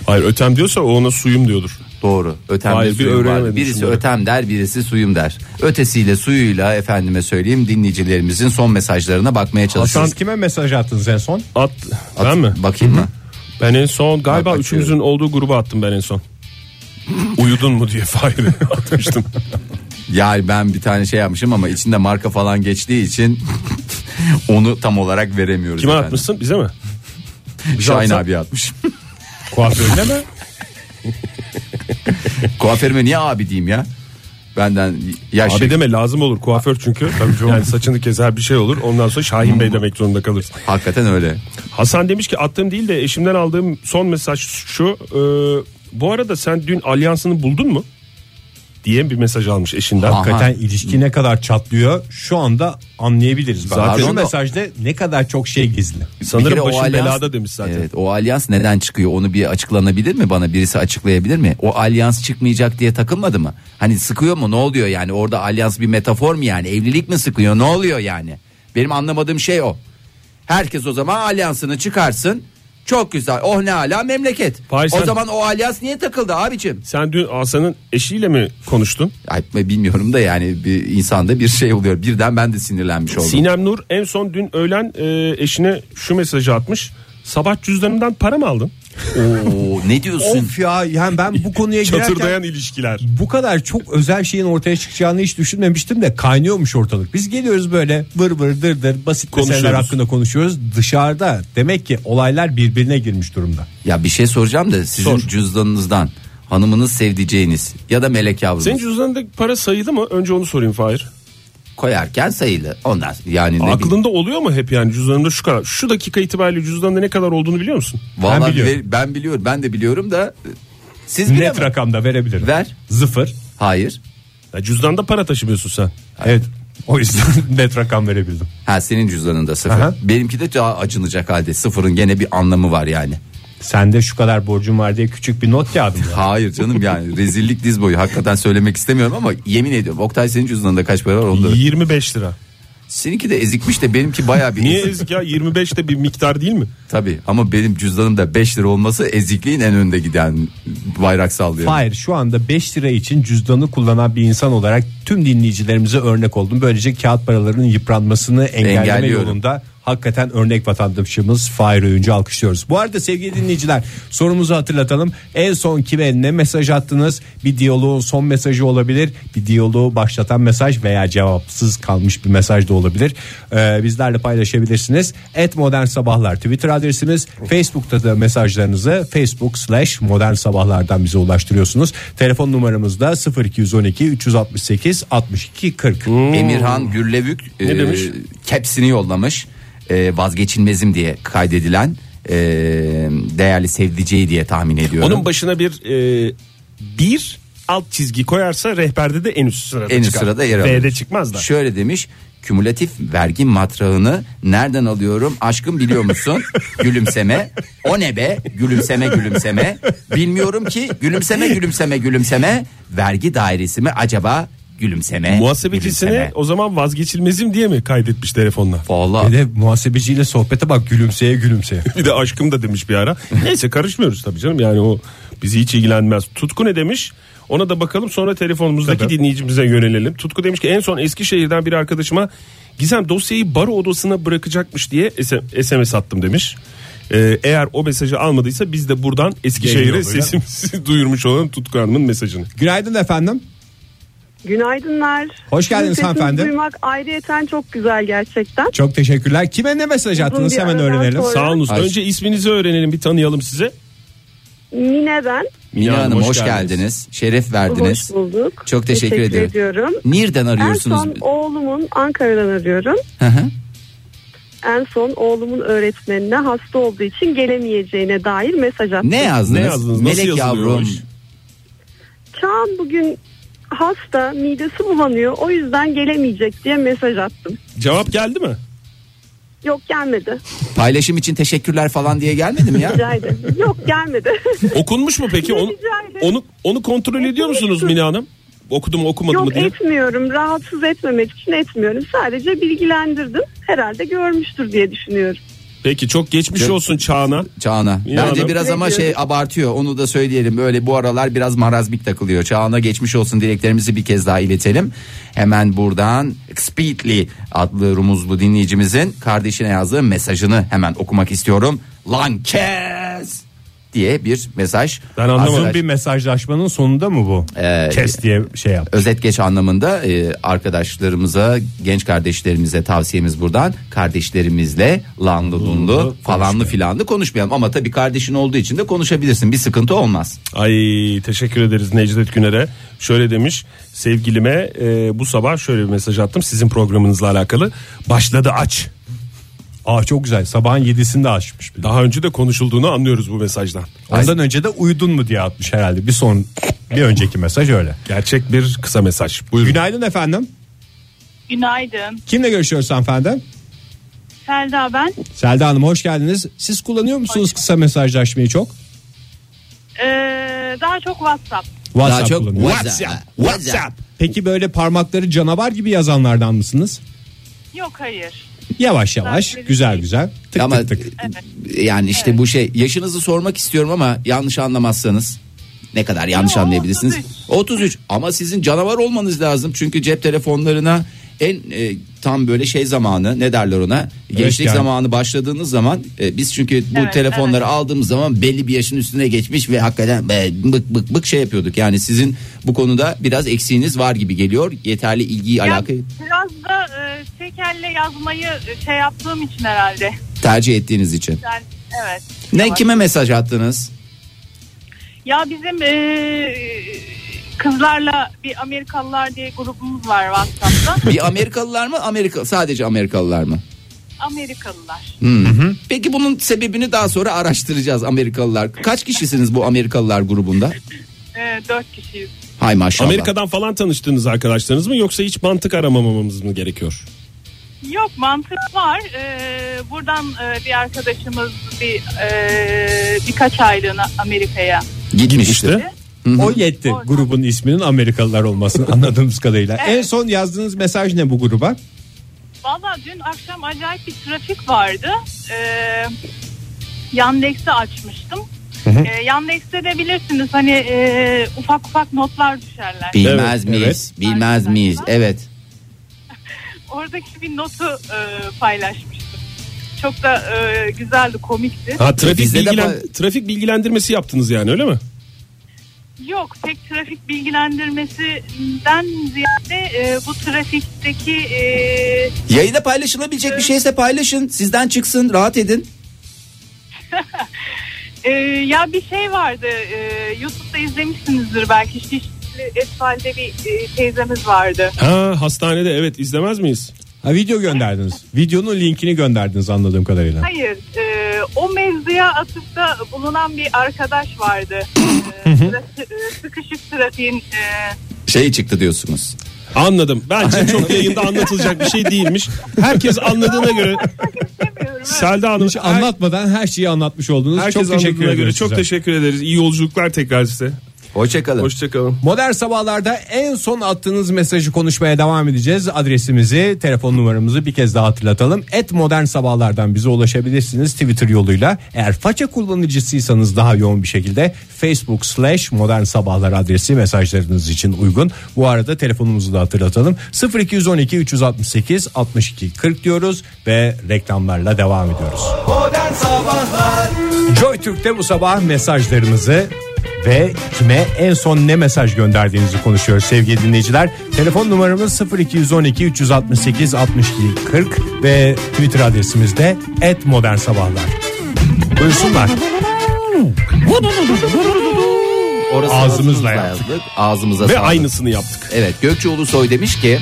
Hayır ötem diyorsa o ona suyum diyordur. Doğru. Ötem Hayır, ve bir suyum var. öğrenemedim Birisi şunları. ötem der, birisi suyum der. Ötesiyle suyuyla efendime söyleyeyim dinleyicilerimizin son mesajlarına bakmaya çalışırız. Siz kime mesaj attınız en son? At, ben mi? Bakayım mı? Ben en son galiba Bak üçümüzün olduğu gruba attım ben en son. (laughs) Uyudun mu diye Fahir'e (laughs) atmıştım. Yani ben bir tane şey yapmışım ama içinde marka falan geçtiği için (laughs) onu tam olarak veremiyoruz. Kime efendim. atmışsın? Bize mi? Şahin Bize abi atmış. Kuaförüne (laughs) mi? Kuaförüme niye abi diyeyim ya? Benden yaş. Abi deme lazım olur kuaför çünkü. Tabii canım. Hmm. yani saçını keser bir şey olur. Ondan sonra Şahin Bey demek zorunda kalırsın. Hakikaten öyle. Hasan demiş ki attığım değil de eşimden aldığım son mesaj şu. e, bu arada sen dün alyansını buldun mu? Diye bir mesaj almış eşinden. Aha. Hakikaten ilişki ne kadar çatlıyor şu anda anlayabiliriz. Zaten Zaten- şu mesajda ne kadar çok şey gizli. Bir Sanırım kere başın alyans- belada demiş zaten. Evet, o alyans neden çıkıyor? Onu bir açıklanabilir mi bana? Birisi açıklayabilir mi? O alyans çıkmayacak diye takılmadı mı? Hani sıkıyor mu? Ne oluyor yani? Orada alyans bir metafor mu yani? Evlilik mi sıkıyor? Ne oluyor yani? Benim anlamadığım şey o. Herkes o zaman alyansını çıkarsın. Çok güzel. Oh ne ala memleket. Fahir sen- O zaman o alyans niye takıldı abicim? Sen dün Hasan'ın eşiyle mi konuştun? Ay, bilmiyorum da yani bir insanda bir şey oluyor. Birden ben de sinirlenmiş oldum. Sinem Nur en son dün öğlen e, eşine şu mesajı atmış. Sabah cüzdanımdan para mı aldın? Oo, ne diyorsun? Of ya yani ben bu E, (laughs) konuya girerken Çatırdayan ilişkiler. bu kadar çok özel şeyin ortaya çıkacağını hiç düşünmemiştim de kaynıyormuş ortalık. Biz geliyoruz böyle vır vır dır dır basit meseleler Konuşuyoruz. hakkında konuşuyoruz. Dışarıda demek ki olaylar birbirine girmiş durumda. Ya bir şey soracağım da sizin Sor. cüzdanınızdan hanımınız sevdiceğiniz ya da melek yavrunuz Senin cüzdanındaki para sayıldı mı? Önce onu sorayım Fahir. koyarken sayılı. Ondan yani ne bileyim. Aklında oluyor mu hep yani cüzdanımda şu kadar. Şu dakika itibariyle cüzdanında ne kadar olduğunu biliyor musun? Vallahi Ben ben biliyorum. biliyorum. ben biliyorum. Ben de biliyorum da e, siz bile Net mi? rakamda verebilirim. Ver. Sıfır. Hayır. Ya cüzdanda para taşımıyorsun sen. Evet. O yüzden (laughs) net rakam verebildim. Ha senin cüzdanında sıfır. Aha. Benimki de daha acınacak halde. Sıfırın gene bir anlamı var yani. Sende şu kadar borcum var diye küçük bir not kağıdım. (laughs) Hayır canım yani rezillik diz boyu. Hakikaten söylemek istemiyorum ama yemin ediyorum. Oktay senin cüzdanında kaç para var onda? 25 lira. Seninki de ezikmiş de benimki bayağı bir Niye ezik. ezik ya 25 de bir miktar değil mi? Tabii ama benim cüzdanımda 5 lira olması ezikliğin en önde giden bayrak sallıyor. Hayır şu anda 5 lira için cüzdanı kullanan bir insan olarak tüm dinleyicilerimize örnek oldum. Böylece kağıt paralarının yıpranmasını engelleme Engelliyorum. yolunda hakikaten örnek vatandaşımız Fahir Öğüncü alkışlıyoruz. Bu arada sevgili dinleyiciler sorumuzu hatırlatalım. En son kime ne mesaj attınız? Bir diyaloğun son mesajı olabilir. Bir diyaloğu başlatan mesaj veya cevapsız kalmış bir mesaj da olabilir. Ee, bizlerle paylaşabilirsiniz. Et Modern Sabahlar Twitter adresimiz. Facebook'ta da mesajlarınızı Facebook slash Modern Sabahlar'dan bize ulaştırıyorsunuz. Telefon numaramız da 0212 368 62 40. Hmm. Emirhan Gürlevük e, demiş? kepsini yollamış. E, vazgeçilmezim diye kaydedilen e, değerli sevdiceği diye tahmin ediyorum. Onun başına bir e, bir alt çizgi koyarsa rehberde de en üst sırada en üst çıkar. sırada yer alıyor. B'de çıkmaz da. Şöyle demiş kümülatif vergi matrağını nereden alıyorum aşkım biliyor (laughs) musun gülümseme o ne be gülümseme gülümseme bilmiyorum ki gülümseme gülümseme gülümseme vergi dairesi mi acaba gülümseme Muhasebecisini gülümseme. o zaman vazgeçilmezim diye mi kaydetmiş telefonla? Vallahi Bir de muhasebeciyle sohbete bak gülümseye gülümseye. Bir de aşkım da demiş bir ara. Neyse karışmıyoruz tabii canım yani o bizi hiç ilgilenmez. Tutku ne demiş? Ona da bakalım sonra telefonumuzdaki dinleyicimize yönelelim. Tutku demiş ki en son Eskişehir'den bir arkadaşıma Gizem dosyayı baro odasına bırakacakmış diye S- SMS attım demiş. Ee, eğer o mesajı almadıysa biz de buradan Eskişehir'e Yayınlıyoruz, öyle mi? sesimizi duyurmuş olalım Tutku Hanım'ın mesajını. (laughs) Günaydın efendim. Günaydınlar. Hoş geldiniz Sizin sesinizi hanımefendi. duymak ayrıyeten çok güzel gerçekten. Çok teşekkürler. Kime ne mesaj attınız bir hemen aradan öğrenelim. sonra- Sağ olunuz. Ay. Önce isminizi öğrenelim bir tanıyalım size. Mine ben. Mine Hanım hoş, geldiniz. Şeref verdiniz. Hoş bulduk. Çok teşekkür, Teşekkür ederim. ediyorum. Nereden En arıyorsunuz? son oğlumun Ankara'dan arıyorum. Hı hı. En son oğlumun öğretmenine hasta olduğu için gelemeyeceğine dair mesaj attım. ne yazdınız? Ne yazdınız? Nasıl Melek yazılıyor o yavrum. iş? Çağan bugün hasta midesi bulanıyor o yüzden gelemeyecek diye mesaj attım. Cevap geldi mi? Yok gelmedi. Paylaşım için teşekkürler falan diye gelmedim (laughs) ya. Rica ederim. Yok gelmedi. (laughs) Okunmuş mu peki? Onu, Rica ederim. onu, onu kontrol ediyor musunuz Mine Hanım? Okudum mu okumadı mı Yok diye. etmiyorum. Rahatsız etmemek için etmiyorum. Sadece bilgilendirdim. Herhalde görmüştür diye düşünüyorum. Peki çok geçmiş olsun Çağan'a. Çağan'a. İnanın. Bence biraz ama şey abartıyor. Onu da söyleyelim. Böyle bu aralar biraz marazmik takılıyor. Çağan'a geçmiş olsun dileklerimizi bir kez daha iletelim. Hemen buradan Speedly adlı rumuzlu dinleyicimizin kardeşine yazdığı mesajını hemen okumak istiyorum. Lan kes diye bir mesaj. Ben anlamadım Arkadaş- Ee, bir mesajlaşmanın sonunda mı bu? Kes diye şey yap. özet geç anlamında e, arkadaşlarımıza, genç kardeşlerimize tavsiyemiz buradan kardeşlerimizle lanlı lunlu falanlı filanlı konuşmayalım. Ama tabii kardeşin olduğu için de konuşabilirsin. Bir sıkıntı olmaz. Ay teşekkür ederiz Necdet Güner'e. Şöyle demiş sevgilime e, bu sabah şöyle bir mesaj attım sizin programınızla alakalı. Başladı aç. Aa çok güzel. Sabahın 7'sinde açmış bir de. Daha önce de konuşulduğunu anlıyoruz bu mesajdan. Ondan önce de uyudun mu diye atmış herhalde. Bir son bir önceki mesaj öyle. Gerçek bir kısa mesaj. Buyurun. Günaydın efendim. Günaydın. Kimle görüşüyoruz hanımefendi? Selda ben. Selda Hanım hoş geldiniz. Siz kullanıyor musunuz kısa mesajlaşmayı çok? Ee, daha çok WhatsApp. WhatsApp Daha çok kullanıyorum. WhatsApp. WhatsApp. Peki böyle parmakları canavar gibi yazanlardan mısınız? Yok hayır. Yavaş yavaş, Ben- şey. güzel güzel. Tık Ama tık tık. yani işte bu şey yaşınızı sormak istiyorum ama yanlış anlamazsanız ne kadar yanlış Yo, anlayabilirsiniz? 33. 33 ama sizin canavar olmanız lazım çünkü cep telefonlarına en e, tam böyle şey zamanı ne derler ona gençlik yani. zamanı başladığınız zaman e, biz çünkü bu Evet, telefonları aldığımız zaman belli bir yaşın üstüne geçmiş ve hakikaten e, bık bık bık şey yapıyorduk yani sizin bu konuda biraz eksiğiniz var gibi geliyor yeterli ilgiyi Ya, alakayı Biraz da e, tek elle yazmayı e, şey yaptığım için herhalde. tercih ettiğiniz için Yani, evet. ne Ama- kime mesaj attınız Ya bizim e, kızlarla bir Amerikalılar diye grubumuz var WhatsApp'ta. Bir Amerikalılar mı? Amerika sadece Amerikalılar mı? Amerikalılar. Hmm. Peki bunun sebebini daha sonra araştıracağız Amerikalılar. Kaç kişisiniz bu Amerikalılar grubunda? E, dört kişiyiz. Hay maşallah. Amerika'dan falan tanıştığınız arkadaşlarınız mı yoksa hiç mantık aramamamız mı gerekiyor? Yok mantık var. E, buradan e, bir arkadaşımız bir e, birkaç aylığına Amerika'ya gitmişti. İşte O yetti grubun isminin Amerikalılar olmasını anladığımız kadarıyla. En son yazdığınız mesaj ne bu gruba? Valla dün akşam acayip bir trafik vardı. Ee, Yandex'i açmıştım. Ee, Yandex'te de bilirsiniz hani e, ufak ufak notlar düşerler. Bilmez Evet, miyiz? Bilmez Arkadaşlar. miyiz? Evet. Oradaki bir notu e, paylaşmıştım. Çok da e, güzeldi, komikti. Ha, trafik, Bizde de bilgilen- ba- trafik bilgilendirmesi yaptınız yani öyle mi? Yok, pek trafik bilgilendirmesinden ziyade e, bu trafikteki e, Yayında paylaşılabilecek bir şeyse paylaşın. Sizden çıksın, rahat edin. e, ya bir şey vardı. E, YouTube'da izlemişsinizdir belki. Şişli Esfal'de bir e, teyzemiz vardı. Ha hastanede evet izlemez miyiz? Ha video gönderdiniz. Videonun linkini gönderdiniz anladığım kadarıyla. Hayır, e, o mevzuya atıfta bulunan bir arkadaş vardı. E, trafik- e, sıkışık trafiğin e, Şey çıktı diyorsunuz. Anladım. Bence çok yayında anlatılacak bir şey değilmiş. Herkes anladığına göre demiyorum. Selda Hanım Hiç anlatmadan her şeyi anlatmış oldunuz. herkes çok teşekkür anladığına ederim. göre çok teşekkür ederiz. İyi yolculuklar tekrar size. Hoşçakalın. Hoşçakalın. Modern sabahlarda en son attığınız mesajı konuşmaya devam edeceğiz. Adresimizi, telefon numaramızı bir kez daha hatırlatalım. Et modern sabahlardan bize ulaşabilirsiniz Twitter yoluyla. Eğer faça kullanıcısıysanız daha yoğun bir şekilde Facebook slash modern sabahlar adresi mesajlarınız için uygun. Bu arada telefonumuzu da hatırlatalım. 0212 368 62 40 diyoruz ve reklamlarla devam ediyoruz. Modern Sabahlar Joy Türk'te bu sabah mesajlarınızı ve kime en son ne mesaj gönderdiğinizi konuşuyoruz sevgili dinleyiciler. Telefon numaramız 0212 368 62 40 ve Twitter adresimiz de @modernsabahlar. Buyursunlar. Orası Ağzımızla yazdık. Ağzımıza Ve sağlık. aynısını yaptık. Evet Gökçe Ulusoy demiş ki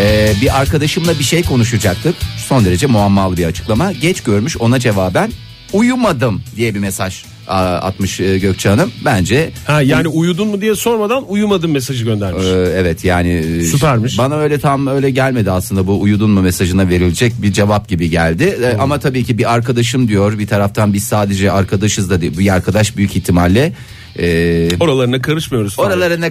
e, bir arkadaşımla bir şey konuşacaktık. Son derece muammalı bir açıklama. Geç görmüş ona cevaben uyumadım diye bir mesaj a, atmış e, Gökçe Hanım. Bence Ha yani uyudun mu diye sormadan uyumadım mesajı göndermiş. e, evet yani e, Süpermiş. Bana öyle tam öyle gelmedi aslında bu uyudun mu mesajına verilecek bir cevap gibi geldi. E, ama tabii ki bir arkadaşım diyor bir taraftan biz sadece arkadaşız da değil. Bir arkadaş büyük ihtimalle e, Oralarına karışmıyoruz. falan. oralarına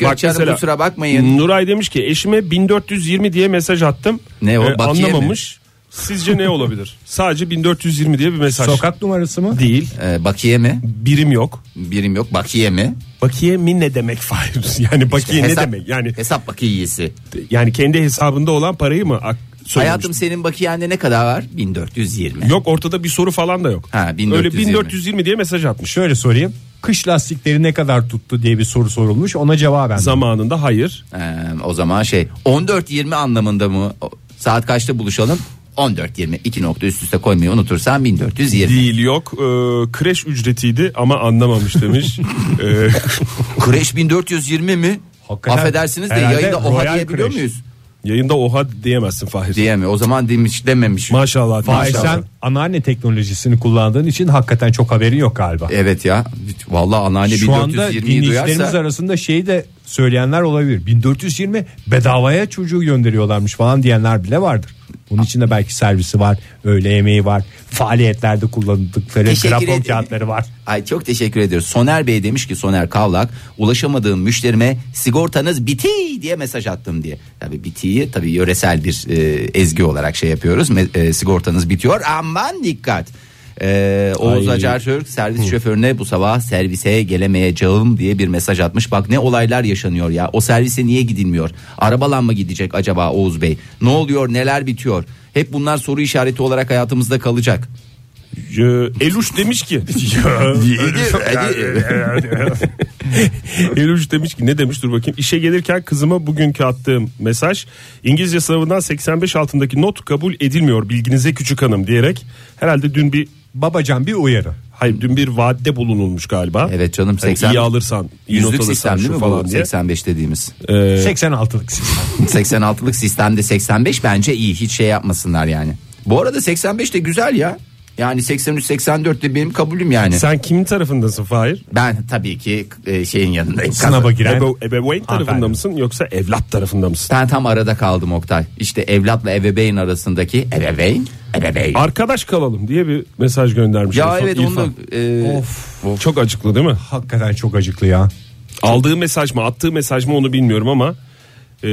Bak Gökçe Hanım mesela, kusura bakmayın. Nuray demiş ki eşime 1420 diye mesaj attım. Ne o, Ee, bakiye mi? anlamamış. Sizce ne (laughs) olabilir? Sadece 1420 diye bir mesaj. Sokak numarası mı? değil. Ee, bakiye mi? Birim yok. Birim yok. Bakiye mi? Bakiye mi ne demek Fahir? (laughs) Yani bakiye İşte ne hesap- demek? Yani hesap bakiyesi. yani kendi hesabında olan parayı mı ak- söylemiş? Hayatım senin bakiyende ne kadar var? 1420. Yok ortada bir soru falan da yok. Ha, 1420. Öyle 1420 diye mesaj atmış. Şöyle sorayım. Kış lastikleri ne kadar tuttu diye bir soru sorulmuş. Ona cevaben. Zamanında hayır. Ee, o zaman şey 14.20 anlamında mı? O- Saat kaçta buluşalım? 14.20 iki nokta üst üste koymayı unutursan 1420. Değil yok. Ee, kreş ücretiydi ama anlamamış (laughs) demiş. Ee, Kreş 1420 mi? Hakikaten. Affedersiniz de Herhalde yayında oha Royal diyebiliyor Kreş. muyuz? yayında oha diyemezsin Fahir. Diyemiyor. O zaman demiş dememiş. Maşallah. Fahir maşallah. sen anneanne teknolojisini kullandığın için hakikaten çok haberin yok galiba. evet ya. Vallahi anneanne Şu anda 1420'yi dinleyicilerimiz duyarsa arasında şeyi de söyleyenler olabilir. 1420 bedavaya çocuğu gönderiyorlarmış falan diyenler bile vardır. Bunun içinde belki servisi var, öğle yemeği var, faaliyetlerde kullandıkları Teşekkür grafon ederim. kağıtları var. Ay çok teşekkür ediyoruz. Soner Bey demiş ki Soner Kavlak ulaşamadığım müşterime sigortanız biti diye mesaj attım diye. Tabii bitiyi tabii yöresel bir e, ezgi olarak şey yapıyoruz. Me- e, sigortanız bitiyor aman dikkat. E, Oğuz Acar Türk servis şoförüne bu sabah servise gelemeyeceğim diye bir mesaj atmış. Bak ne olaylar yaşanıyor ya. O servise niye gidilmiyor? Arabalan mı gidecek acaba Oğuz Bey? Ne oluyor neler bitiyor? Hep bunlar soru işareti olarak hayatımızda kalacak. Ee, Eluş demiş (laughs) ki. (laughs) Eluş demiş ki ne demiş dur bakayım. İşe gelirken kızıma bugünkü attığım mesaj İngilizce sınavından 85 altındaki not kabul edilmiyor bilginize küçük hanım diyerek herhalde dün bir Babacan bir uyarı. hayır dün bir vaatte bulunulmuş galiba. Evet canım, Hani 80 iyi alırsan iyi not Yüzlük alırsan sistem değil şu mi falan bu diye. (laughs) 85 dediğimiz? 86'lık sistem. 86'lık sistemde 85 bence iyi hiç şey yapmasınlar yani. Bu arada 85 de güzel ya. Yani 83-84 de benim kabulüm yani. Sen kimin tarafındasın Fahir? Ben tabii ki e, şeyin yanındayım. Sınava giren. Ebe, ebeveyn tarafında Hanımefendi. mısın yoksa evlat tarafında mısın? Ben tam arada kaldım Oktay. İşte evlatla ebeveyn arasındaki ebeveyn, ebeveyn. Arkadaş kalalım diye bir mesaj göndermiş. ya İrfan- evet onu da... İrfan. e, Çok acıklı değil mi? (laughs) Hakikaten çok acıklı ya. Aldığı mesaj mı attığı mesaj mı onu bilmiyorum ama e,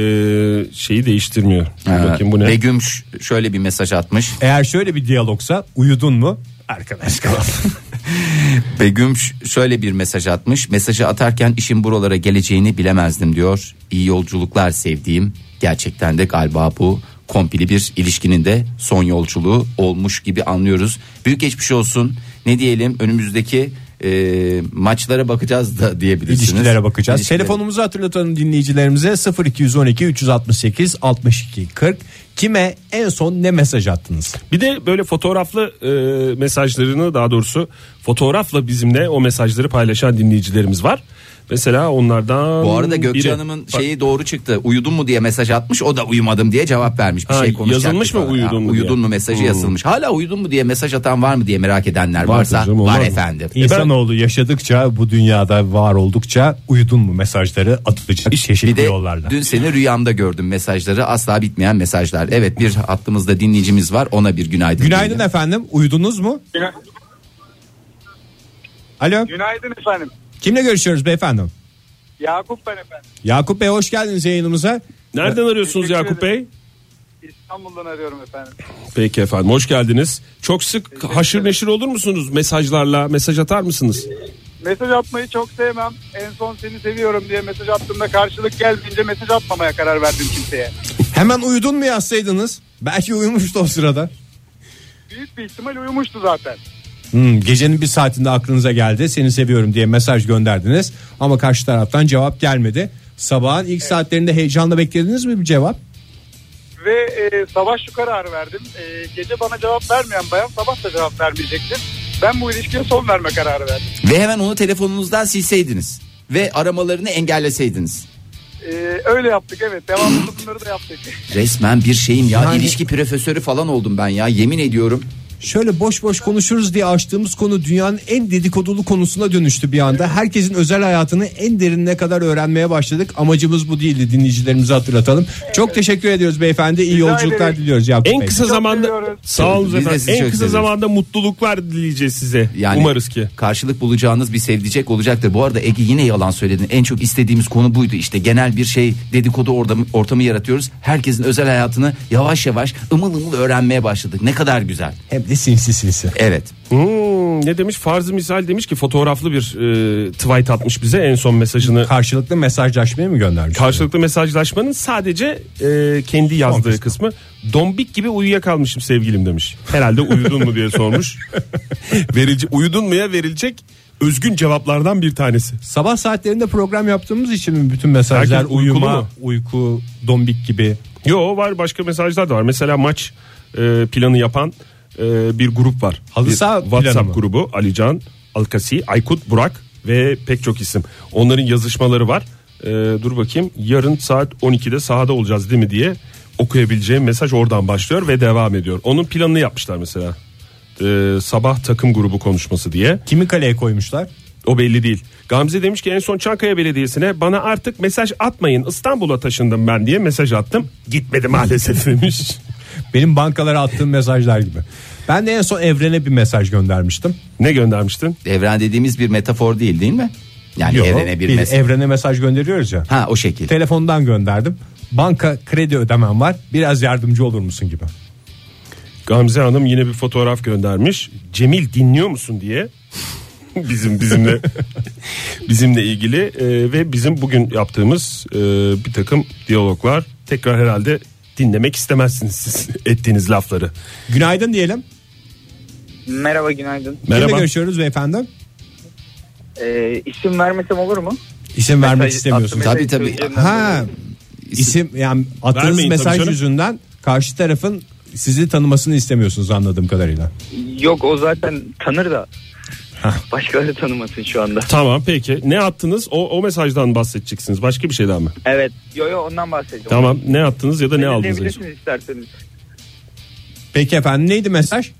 şeyi değiştirmiyor. Dur e, bakayım bu ne? Begüm ş- şöyle bir mesaj atmış. Eğer şöyle bir diyalogsa uyudun mu? Arkadaş (laughs) kalalım. Begüm ş- şöyle bir mesaj atmış. Mesajı atarken işin buralara geleceğini bilemezdim diyor. İyi yolculuklar sevdiğim. Gerçekten de galiba bu kompili bir ilişkinin de son yolculuğu olmuş gibi anlıyoruz. Büyük geçmiş olsun. Ne diyelim önümüzdeki e, maçlara bakacağız da diyebilirsiniz. İlişkilere bakacağız. İlişkilere. Telefonumuzu hatırlatalım dinleyicilerimize 0212 368 62 40. Kime en son ne mesaj attınız? Bir de böyle fotoğraflı e, mesajlarını daha doğrusu fotoğrafla bizimle o mesajları paylaşan dinleyicilerimiz var. Mesela onlardan Bu arada Gökçe biri- Hanım'ın şeyi doğru çıktı. Uyudun mu diye mesaj atmış. O da uyumadım diye cevap vermiş. Bir Ha, şey konuşacaktık yazılmış mı falan. uyudun mu Uyudun diye? Hmm. mu mesajı yazılmış. Hala uyudun mu diye mesaj atan var mı diye merak edenler varsa canım, var olmaz mı? efendim. İnsanoğlu yaşadıkça bu dünyada var oldukça uyudun mu mesajları atılacak şey Bir çeşitli de yollarla. dün seni rüyamda gördüm mesajları asla bitmeyen mesajlar. Evet bir hattımızda dinleyicimiz var ona bir günaydın. Günaydın diyelim. efendim uyudunuz mu? Alo Günaydın efendim. kimle görüşüyoruz beyefendi? Yakup ben efendim. Yakup Bey hoş geldiniz yayınımıza. Nereden arıyorsunuz Teşekkür Yakup Bey? ederim. İstanbul'dan arıyorum efendim. Peki efendim hoş geldiniz. Çok sık haşır neşir olur musunuz mesajlarla? Mesaj atar mısınız? Mesaj atmayı çok sevmem. En son seni seviyorum diye mesaj attığımda karşılık gelmeyince mesaj atmamaya karar verdim kimseye. Hemen uyudun mu yazsaydınız? Belki uyumuştu o sırada. Büyük bir ihtimal uyumuştu zaten. Hmm, gecenin bir saatinde aklınıza geldi seni seviyorum diye mesaj gönderdiniz ama karşı taraftan cevap gelmedi. Sabahın ilk saatlerinde heyecanla beklediniz mi bir cevap? Ve e, sabah şu kararı verdim. E, gece bana cevap vermeyen bayan sabah da cevap vermeyecekti. Ben bu ilişkiye son verme kararı verdim. Ve hemen onu telefonunuzdan silseydiniz ve aramalarını engelleseydiniz. E, öyle yaptık evet. Devamlı bunları da yaptık. Resmen bir şeyim ya Yani- ilişki profesörü falan oldum ben ya yemin ediyorum. Şöyle boş boş konuşuruz diye açtığımız konu dünyanın en dedikodulu konusuna dönüştü bir anda. Herkesin özel hayatını en derinine kadar öğrenmeye başladık. Amacımız bu değildi dinleyicilerimize hatırlatalım. Çok teşekkür ediyoruz beyefendi. İyi Rica yolculuklar ederim. diliyoruz Yakup En Bey. kısa zamanda seviyoruz. sağ olun Biz de efendim. sizi En çok kısa seviyoruz. zamanda mutluluklar dileyeceğiz size. Yani Umarız ki. karşılık bulacağınız bir sevdicek olacaktır. Bu arada Ege yine yalan söyledin. En çok istediğimiz konu buydu. İşte genel bir şey dedikodu ortamı, ortamı yaratıyoruz. Herkesin özel hayatını yavaş yavaş ımıl ımıl öğrenmeye başladık. Ne kadar güzel. Hem de sinsi sinsi. Evet. Hmm, ne demiş? Farzı misal demiş ki fotoğraflı bir e, tweet atmış bize en son mesajını. Karşılıklı mesajlaşmaya mı göndermiş? Karşılıklı mesajlaşmanın sadece e, kendi yazdığı kısmı. Dombik gibi uyuyakalmışım sevgilim demiş. Herhalde uyudun mu diye sormuş. (laughs) Verici, uyudun mu ya verilecek özgün cevaplardan bir tanesi. Sabah saatlerinde program yaptığımız için mi bütün mesajlar Herkes uykulu mu? uyuma, uyku, dombik gibi. Yo var başka mesajlar da var. Mesela maç e, planı yapan e, bir grup var. Halı Bir saha planı mı? WhatsApp grubu Alican, Alkasi, Aykut, Burak ve pek çok isim. Onların yazışmaları var. E, dur bakayım yarın saat 12'de sahada olacağız değil mi diye okuyabileceğim mesaj oradan başlıyor ve devam ediyor. Onun planını yapmışlar mesela. E, sabah takım grubu konuşması diye. Kimi kaleye koymuşlar? O belli değil. Gamze demiş ki en son Çankaya Belediyesi'ne bana artık mesaj atmayın İstanbul'a taşındım ben diye mesaj attım. Gitmedi maalesef (laughs) demiş. Benim bankalara attığım mesajlar gibi. Ben de en son evrene bir mesaj göndermiştim. ne göndermiştin? Evren dediğimiz bir metafor değil değil mi? Yani Yok, evrene bir, mesaj. Evrene mesaj gönderiyoruz ya. ha o şekil. Telefondan gönderdim. Banka kredi ödemem var. Biraz yardımcı olur musun gibi. Gamze Hanım yine bir fotoğraf göndermiş. Cemil dinliyor musun diye. (laughs) bizim bizimle (laughs) bizimle ilgili e, ve bizim bugün yaptığımız e, bir takım diyaloglar tekrar herhalde dinlemek istemezsiniz siz (laughs) ettiğiniz lafları. Günaydın diyelim. Merhaba günaydın. Kimle Merhaba. görüşüyoruz beyefendi? Ee, isim vermesem olur mu? İsim vermek Mesaj- istemiyorsun. attım, Tabii, tabii. mesaj- Ha isim yani attığınız Vermeyin tabii mesaj canım. yüzünden karşı tarafın sizi tanımasını istemiyorsunuz anladığım kadarıyla. Yok o zaten tanır da. Başkaları tanımasın şu anda. Tamam peki. Ne attınız? O, o mesajdan bahsedeceksiniz. Başka bir şeyden mi? Evet. Yo yo ondan bahsedeceğim. Tamam ne attınız ya da ne aldınız? en son? Belirleyebilirsiniz isterseniz. Peki efendim neydi mesaj?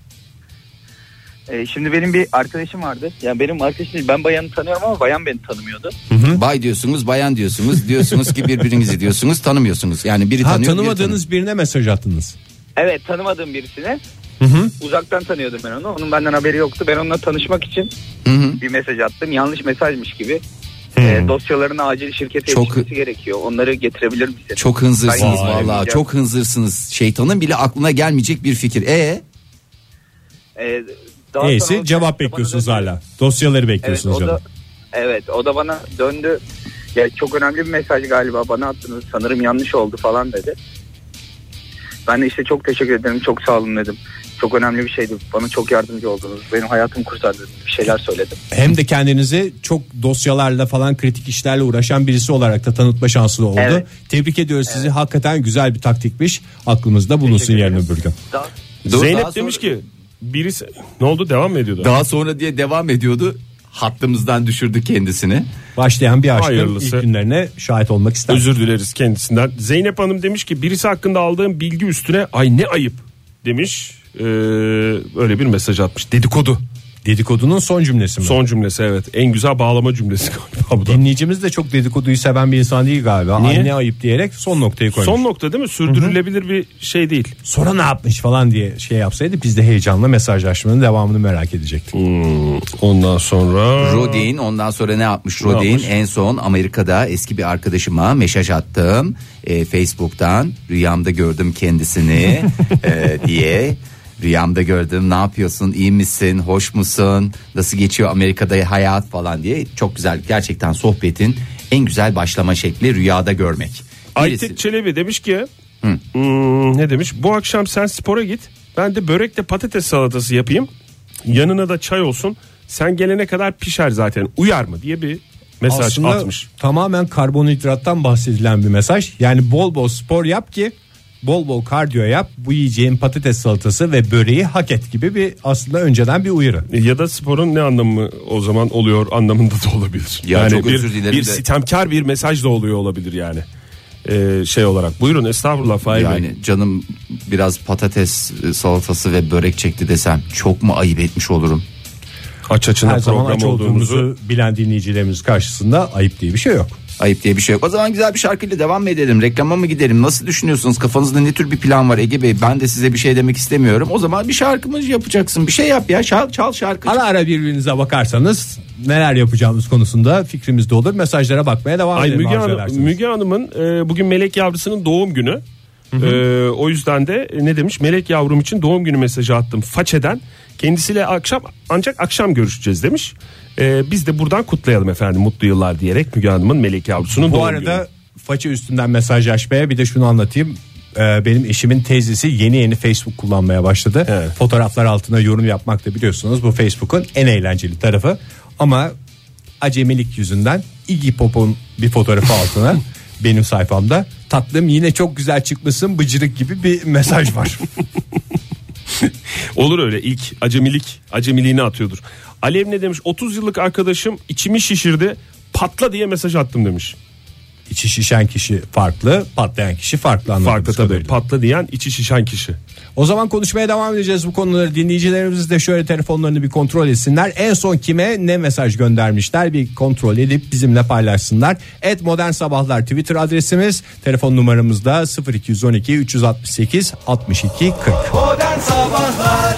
Ee, şimdi benim bir arkadaşım vardı. Yani benim arkadaşım değil, ben bayanı tanıyorum ama bayan beni tanımıyordu. Bay diyorsunuz, bayan diyorsunuz, diyorsunuz ki birbirinizi diyorsunuz, tanımıyorsunuz. Yani biri Ha tanıyor, biri tanımıyor. tanımadığınız birine mesaj attınız. Evet tanımadığım birisine. Uzaktan tanıyordum ben onu. Onun benden haberi yoktu. Ben onunla tanışmak için Hı hı. bir mesaj attım. Yanlış mesajmış gibi. Ee, dosyaların acil şirkete Çok- yetişmesi gerekiyor. Onları getirebilir misin? Çok hınzırsınız Vay. vallahi. Çok hınzırsınız. Şeytanın bile aklına gelmeyecek bir fikir. E Ee, daha sonra Neyse o- cevap bana bekliyorsunuz döndü. hala. Dosyaları Evet bekliyorsunuz o, da, canım. evet o da bana döndü. Ya çok önemli bir mesaj galiba bana attınız. Sanırım yanlış oldu falan dedi. Ben de işte çok teşekkür ederim. Çok sağ olun dedim. Çok önemli bir şeydi. Bana çok yardımcı oldunuz. Benim hayatım kurtardı. Bir şeyler söyledim. Hem de kendinizi çok dosyalarla falan kritik işlerle uğraşan birisi olarak da tanıtma şansı da oldu. Evet. Tebrik ediyoruz sizi. Hakikaten güzel bir taktikmiş. Aklımızda bulunsun yarın öbür gün. Daha Dur, Zeynep daha sonra- demiş ki birisi ne oldu devam mı ediyordu? daha sonra diye devam ediyordu. Hattımızdan düşürdü kendisini. Başlayan bir aşkın Hayırlısı. ilk günlerine şahit olmak ister. Özür dileriz kendisinden. Zeynep Hanım demiş ki birisi hakkında aldığım bilgi üstüne ay ne ayıp demiş. Ee, öyle bir mesaj atmış. Dedikodu. Dedikodunun son cümlesi mi? Son cümlesi evet. En güzel bağlama cümlesi galiba bu da. Dinleyicimiz de çok dedikoduyu seven bir insan değil galiba. Niye? Anne ayıp diyerek son noktayı koymuş. Son nokta değil mi? Sürdürülebilir bir şey değil. Sonra ne yapmış falan diye şey yapsaydı biz de heyecanla mesajlaşmanın devamını merak edecektik. Ondan sonra Rodin ondan sonra ne yapmış Rodin? yapmış? En son Amerika'da eski bir arkadaşıma mesaj attım. Ee, Facebook'tan rüyamda gördüm kendisini ee, diye. Rüyamda gördüm ne yapıyorsun iyi misin hoş musun nasıl geçiyor Amerika'da hayat falan diye. Çok güzel gerçekten sohbetin en güzel başlama şekli rüyada görmek. Birisi- Aytek Çelebi demiş ki "Hmm, ne demiş? Bu akşam sen spora git. Ben de börekle patates salatası yapayım. Yanına da çay olsun. Sen gelene kadar pişer zaten. Uyar mı diye bir mesaj Aslında atmış. tamamen karbonhidrattan bahsedilen bir mesaj. Yani bol bol spor yap ki bol bol kardiyo yap. Bu yiyeceğin patates salatası ve böreği hak et gibi bir aslında önceden bir uyarı. E, Ya da sporun ne anlamı o zaman oluyor anlamında da olabilir. Ya yani çok bir, özür dilerim bir de. sitemkar bir mesaj da oluyor olabilir yani. e, şey olarak. Buyurun estağfurullah Fahir Bey. Yani canım biraz patates e, salatası ve börek çekti desem çok mu ayıp etmiş olurum? Aç açına Her program zaman aç olduğumuzu. olduğumuzu bilen dinleyicilerimiz karşısında ayıp diye bir şey yok. Ayıp diye bir şey yok. O zaman güzel bir şarkıyla devam mı edelim? Reklama mı gidelim? Nasıl düşünüyorsunuz? Kafanızda ne tür bir plan var Ege Bey? Ben de size bir şey demek istemiyorum. O zaman bir şarkımız yapacaksın. Bir şey yap ya. Çal, çal şarkı. Ara ara birbirinize bakarsanız neler yapacağımız konusunda fikrimiz de olur. Mesajlara bakmaya devam Ay edelim. Müge, arzu Hanım- ederseniz. Müge Hanım'ın e, bugün Melek Yavrusu'nun doğum günü. E, o yüzden de e, ne demiş? Melek Yavrum için doğum günü mesajı attım façeden. Kendisiyle akşam ancak akşam görüşeceğiz demiş. E, biz de buradan kutlayalım efendim mutlu yıllar diyerek Müge Hanım'ın Melek Yavrusu'nun Bu doğum arada günü. faça üstünden mesajlaşmaya bir de şunu anlatayım. Ee, benim eşimin teyzesi yeni yeni Facebook kullanmaya başladı. Evet. Fotoğraflar altına yorum yapmak da biliyorsunuz bu Facebook'un en eğlenceli tarafı. Ama acemilik yüzünden Iggy Pop'un bir (laughs) fotoğrafı altına benim sayfamda tatlım yine çok güzel çıkmışsın bıcırık gibi bir mesaj var. (laughs) Olur öyle ilk acemilik acemiliğini atıyordur. Alev ne demiş? 30 yıllık arkadaşım içimi şişirdi patla diye mesaj attım demiş. İçi şişen kişi farklı, patlayan kişi farklı anladığımız Farklı tabii kadarıyla. patla diyen içi şişen kişi. O zaman konuşmaya devam edeceğiz bu konuları. Dinleyicilerimiz de şöyle telefonlarını bir kontrol etsinler. En son kime ne mesaj göndermişler bir kontrol edip bizimle paylaşsınlar. Et Modern Sabahlar Twitter adresimiz. Telefon numaramız da 0212 368 62 40. Modern Sabahlar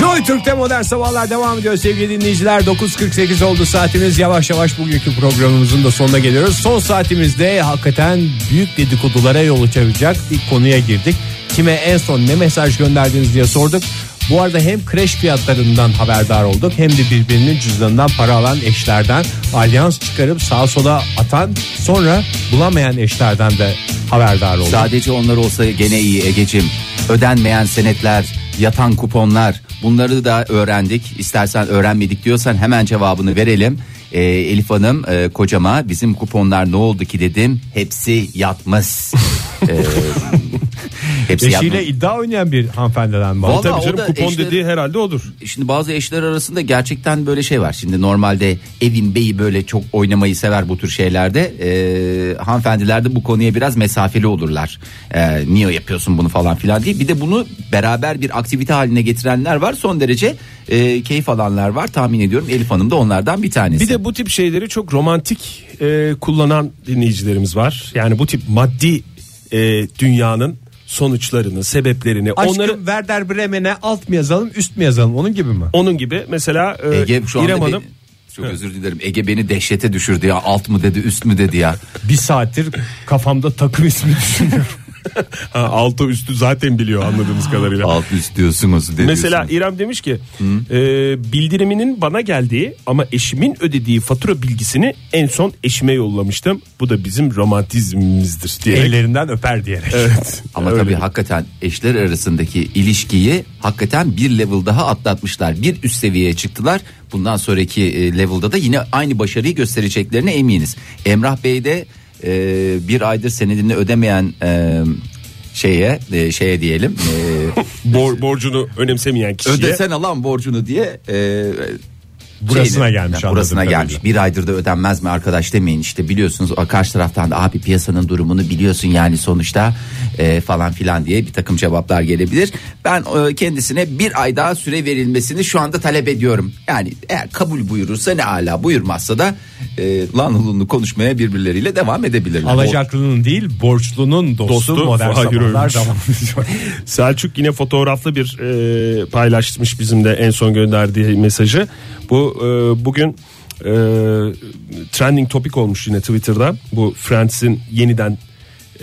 Joy Türk'te Modern Sabahlar devam ediyor sevgili dinleyiciler. 9.48 oldu saatimiz. Yavaş yavaş bugünkü programımızın da sonuna geliyoruz. Son saatimizde hakikaten büyük dedikodulara yol açabilecek bir konuya girdik. Kime en son ne mesaj gönderdiniz diye sorduk. Bu arada hem kreş fiyatlarından haberdar olduk hem de birbirinin cüzdanından para alan eşlerden alyans çıkarıp sağa sola atan sonra bulamayan eşlerden de haberdar olduk. Sadece onlar olsa gene iyi Egecim. Ödenmeyen senetler, yatan kuponlar bunları da öğrendik. İstersen öğrenmedik diyorsan hemen cevabını verelim. Ee, Elif Hanım e, kocama bizim kuponlar ne oldu ki dedim. Hepsi yatmış. (laughs) Ee, hepsi Eşiyle yatmış. iddia oynayan bir hanımefendiden var. Vallahi Tabii o canım da kupon eşleri- dediği herhalde odur. Şimdi bazı eşler arasında gerçekten böyle şey var. Şimdi normalde evin beyi böyle çok oynamayı sever bu tür şeylerde. Ee, hanımefendiler de bu konuya biraz mesafeli olurlar. Ee, niye yapıyorsun bunu falan filan diye. Bir de bunu beraber bir aktivite haline getirenler var. Son derece e, keyif alanlar var. Tahmin ediyorum Elif Hanım da onlardan bir tanesi. Bir de bu tip şeyleri çok romantik e, kullanan dinleyicilerimiz var. Yani bu tip maddi e, dünyanın sonuçlarını, sebeplerini, Aşkım onları Werder Bremen'e alt mı yazalım üst mü yazalım onun gibi mi? onun gibi mesela e, Ege şu anda İrem beni- (laughs) Hanım çok özür dilerim. Ege beni dehşete düşürdü ya. Alt mı dedi, üst mü dedi ya. (laughs) Bir saattir kafamda takım ismi düşünüyorum. ha, altı üstü zaten biliyor anladığımız kadarıyla. Alt üst diyorsunuz dedi. Mesela İrem demiş ki e, bildiriminin bana geldiği ama eşimin ödediği fatura bilgisini en son eşime yollamıştım. Bu da bizim romantizmimizdir diye. (laughs) Ellerinden öper diyerek. Evet. Ama Öyle. tabii hakikaten eşler arasındaki ilişkiyi hakikaten bir level daha atlatmışlar. Bir üst seviyeye çıktılar. Bundan sonraki e, level'da da yine aynı başarıyı göstereceklerine eminiz. Emrah Bey de e, bir aydır senedini ödemeyen e, şeye e, şeye diyelim. e, Bor- borcunu önemsemeyen kişiye ödesene lan borcunu diye e, Burasına gelmiş yani burasına anladığım gelmiş. Bir aydır da ödenmez mi arkadaş demeyin işte biliyorsunuz karşı taraftan da abi piyasanın durumunu biliyorsun yani sonuçta e, falan filan diye bir takım cevaplar gelebilir. Ben e, kendisine bir ay daha süre verilmesini şu anda talep ediyorum. Yani eğer kabul buyurursa ne ala buyurmazsa da e, lan hulunlu konuşmaya birbirleriyle devam (laughs) edebilirler. Alacaklının değil borçlunun dostu, Dostu modern Fahir sabahlar Öğünç. devam ediyor. Selçuk yine fotoğraflı bir e, paylaşmış bizim de en son gönderdiği mesajı. Bu e, bugün e, trending topik olmuş yine Twitter'da. Bu Friends'in yeniden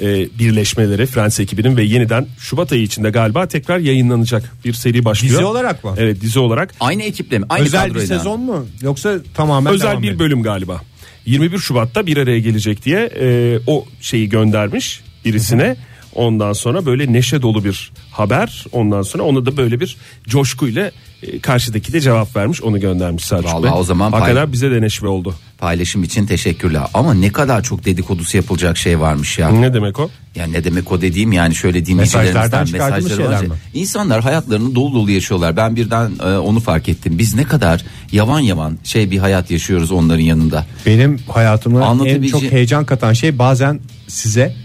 e, birleşmeleri Friends ekibinin ve yeniden Şubat ayı içinde galiba tekrar yayınlanacak bir seri başlıyor. Dizi olarak mı? Evet dizi olarak. Aynı ekiple mi? Aynı Özel bir kadroyla mı? sezon mu yoksa tamamen Özel devam bir ediyor? bölüm galiba. 21 Şubat'ta bir araya gelecek diye e, o şeyi göndermiş birisine. Ondan sonra böyle neşe dolu bir haber. Ondan sonra onu da böyle bir coşkuyla E, Karşıdaki de cevap vermiş onu göndermiş Selçuk Vallahi Bey. o zaman Hakikaten pay- bize de neşve oldu. Paylaşım için teşekkürler. Ama ne kadar çok dedikodusu yapılacak şey varmış ya. Ne demek o? Ya ne demek o dediğim yani şöyle dinleyicilerimizden Mesajlardan çıkardığımız mesajları şeyler alınca- mi? İnsanlar hayatlarını dolu dolu yaşıyorlar. Ben birden e, onu fark ettim. Biz ne kadar yavan yavan şey bir hayat yaşıyoruz onların yanında. Benim hayatıma en Anlatabileceğim- çok heyecan katan şey bazen size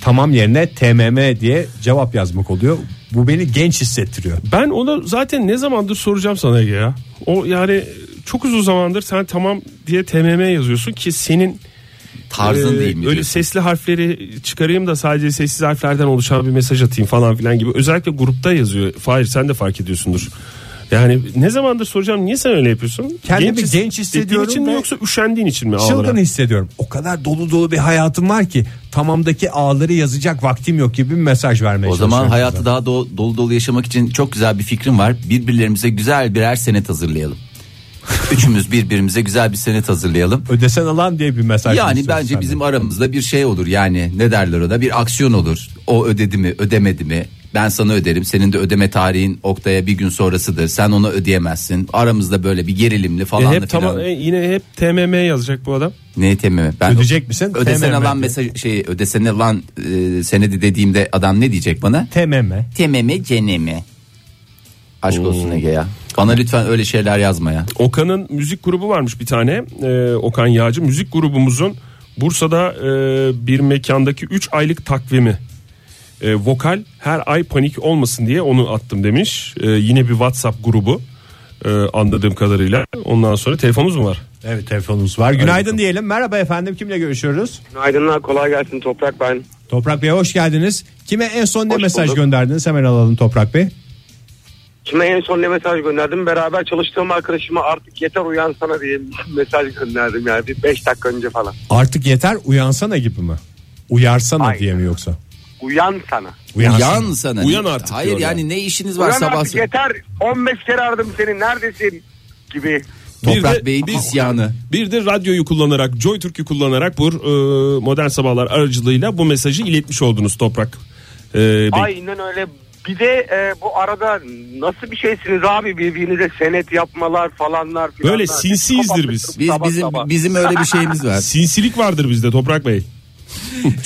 tamam yerine TMM diye cevap yazmak oluyor. Bu beni genç hissettiriyor. Ben onu zaten ne zamandır soracağım sana Ege ya. O yani çok uzun zamandır sen tamam diye TMM yazıyorsun ki senin Tarzın Ee, e, değil mi? öyle diyorsun? sesli harfleri çıkarayım da sadece sessiz harflerden oluşan bir mesaj atayım falan filan gibi. Özellikle grupta yazıyor. Fahir sen de fark ediyorsundur. Yani ne zamandır soracağım niye sen öyle yapıyorsun? Kendimi his- genç ettiğin hissediyorum için mi ve yoksa üşendiğin için mi ağlara? Çılgın hissediyorum. O kadar dolu dolu bir hayatım var ki tamamdaki ağları yazacak vaktim yok gibi bir mesaj vermeye O zaman çalışıyorum hayatı size. daha do- dolu dolu yaşamak için çok güzel bir fikrim var. Birbirlerimize güzel birer (laughs) senet hazırlayalım. Üçümüz birbirimize güzel bir senet hazırlayalım. ödesen alan diye bir mesaj. Yani istiyorum bence senden. bizim aramızda bir şey olur yani ne derler ona bir aksiyon olur. O ödedi mi ödemedi mi ben sana öderim senin de ödeme tarihin Oktay'a bir gün sonrasıdır sen ona ödeyemezsin. Aramızda böyle bir gerilimli E, falan hep tamam e, yine hep TMM yazacak bu adam. Ne temimi? Ben Ödeyecek misin? Ödesen TMM alan diye. mesaj şey ödesen alan e, senedi dediğimde adam ne diyecek bana? TMM. Tememi cenemi. Aşk olsun Ege ya. Bana lütfen öyle şeyler yazma ya. Okan'ın müzik grubu varmış bir tane. Ee, Okan Yağcı müzik grubumuzun Bursa'da e, bir mekandaki 3 aylık takvimi. E, vokal her ay panik olmasın diye onu attım demiş. E, yine bir WhatsApp grubu e, anladığım kadarıyla. Ondan sonra telefonumuz mu var? Evet telefonumuz var. Günaydın diyelim. Merhaba efendim kimle görüşüyoruz? Günaydınlar kolay gelsin Toprak ben. Toprak Bey hoş geldiniz. Kime en son ne Hoş mesaj bulduk. gönderdiniz? Hemen alalım Toprak Bey. Kime en son ne mesaj gönderdim? Beraber çalıştığım arkadaşıma artık yeter uyansana diye bir mesaj gönderdim yani bir 5 dakika önce falan. Artık yeter uyansana gibi mi? Uyarsana Aynen. diye mi yoksa? Uyansana. Uyansana. Uyan sana. Uyan artık Hayır diyor ya. yani ne işiniz var Uyan sabah artık yeter 15 kere aradım seni neredesin gibi. Toprak Bir de- Bey'in isyanı. Bir de radyoyu kullanarak, Joy Türk'ü kullanarak bu e, modern sabahlar aracılığıyla bu mesajı iletmiş oldunuz Toprak. E, Bey. Aynen öyle. Bir de e, bu arada nasıl bir şeysiniz abi birbirinize senet yapmalar falanlar filanlar. Böyle sinsiyizdir biz. Biz Sabah bizim sabah. bizim öyle bir şeyimiz var. (laughs) Sinsilik vardır bizde Toprak Bey.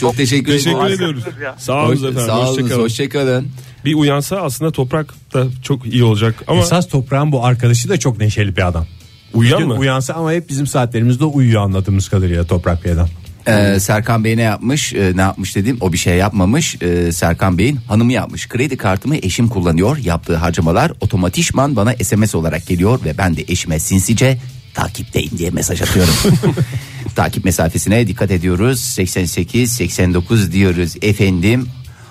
Çok teşekkür ederim. Teşekkür ediyoruz. ya. Sağ Hoş, olun efendim. sağ olun. Hoşçakalın. Hoşçakalın. Bir uyansa aslında toprak da çok iyi olacak ama Esas Toprak'ın bu arkadaşı da çok neşeli bir adam. uyan Dün mı? Uyansa ama hep bizim saatlerimizde uyuyor anladığımız kadarıyla Toprak Bey'den. Ee, Serkan Bey ne yapmış? Ee, ne yapmış dediğim o bir şey yapmamış. Ee, Serkan Bey'in hanımı yapmış. Kredi kartımı eşim kullanıyor. Yaptığı harcamalar otomatikman bana SMS olarak geliyor ve ben de eşime sinsice takipteyim diye mesaj atıyorum. Takip mesafesine dikkat ediyoruz. 88 89 diyoruz efendim.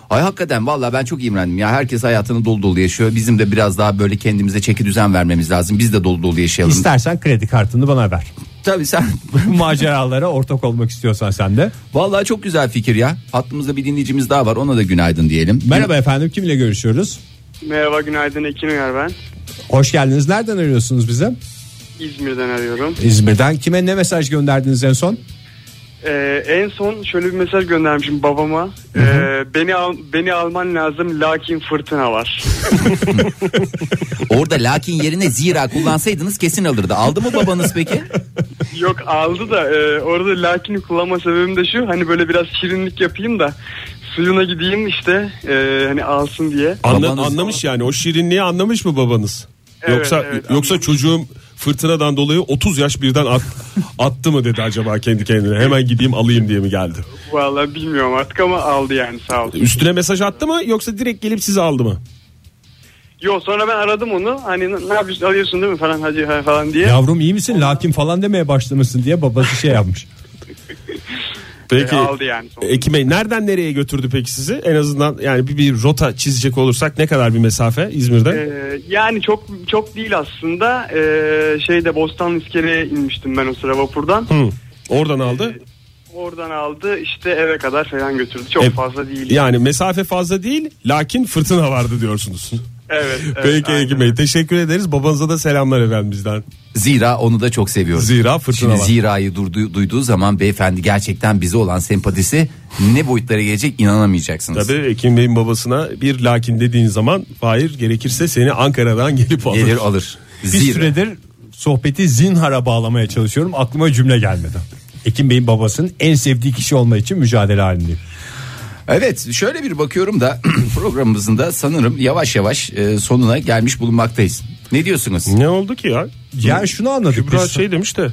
Ay hakikaten valla ben çok imrendim ya herkes hayatını dolu dolu yaşıyor bizim de biraz daha böyle kendimize çeki düzen vermemiz lazım biz de dolu dolu yaşayalım. İstersen kredi kartını (laughs) bana ver. Tabii sen Bu maceralara ortak olmak istiyorsan sen de. Vallahi çok güzel fikir ya. Hattımızda bir dinleyicimiz daha var. Ona da günaydın diyelim. Merhaba efendim kimle görüşüyoruz? Merhaba günaydın Ekin Uyar ben. Hoş geldiniz. Nereden arıyorsunuz bize? İzmir'den arıyorum. İzmir'den. Kime ne mesaj gönderdiniz en son? Ee, en son şöyle bir mesaj göndermişim babama. Ee, beni al, beni alman lazım lakin fırtına var. (laughs) Orada lakin yerine zira kullansaydınız kesin alırdı. Aldı mı babanız peki? Yok aldı da e, orada lakin kullanma sebebim de şu. Hani böyle biraz şirinlik yapayım da suyuna gideyim işte e, hani alsın diye. Anla- Babanız- anlamış yani o şirinliği anlamış mı babanız? Evet, yoksa evet, yoksa çocuğum fırtınadan dolayı 30 yaş birden at, (laughs) attı mı dedi acaba kendi kendine. Hemen gideyim alayım diye mi geldi? Vallahi bilmiyorum artık ama aldı yani sağ olsun. Üstüne mesaj attı mı yoksa direkt gelip sizi aldı mı? Yok sonra ben aradım onu. Hani ne yapıyorsun alıyorsun değil mi falan hacı ha, falan diye. Yavrum iyi misin? Lakin falan demeye başlamışsın diye babası şey yapmış. Peki. E, aldı yani sonunda. Ekim Bey nereden nereye götürdü peki sizi? En azından yani bir, bir rota çizecek olursak ne kadar bir mesafe İzmir'den? Ee, yani çok çok değil aslında. Ee, şeyde Bostanlı İskele'ye inmiştim ben o sıra vapurdan. Hı. Oradan e, aldı. Oradan aldı işte eve kadar falan götürdü. Çok E, fazla değil. Yani mesafe fazla değil lakin fırtına vardı diyorsunuz. Evet. evet, Peki aynen. Ekim Bey teşekkür ederiz. Babanıza da selamlar efendim bizden. Zira onu da çok seviyoruz. Zira fırtına Şimdi var. Zira'yı durdu, duyduğu zaman beyefendi gerçekten bize olan sempatisi ne boyutlara gelecek inanamayacaksınız. Tabii Ekim Bey'in babasına bir lakin dediğin zaman Fahir gerekirse seni Ankara'dan gelip alır. Gelir alır. Bir Zira. süredir sohbeti zinhara bağlamaya çalışıyorum. Aklıma cümle gelmedi. Ekim Bey'in babasının en sevdiği kişi olma için mücadele halindeyim. Evet şöyle bir bakıyorum da (clears throat) programımızın da sanırım yavaş yavaş e, sonuna gelmiş bulunmaktayız. Ne diyorsunuz? Ne oldu ki ya? Yani şunu anladık Kübra biz. şey demiş de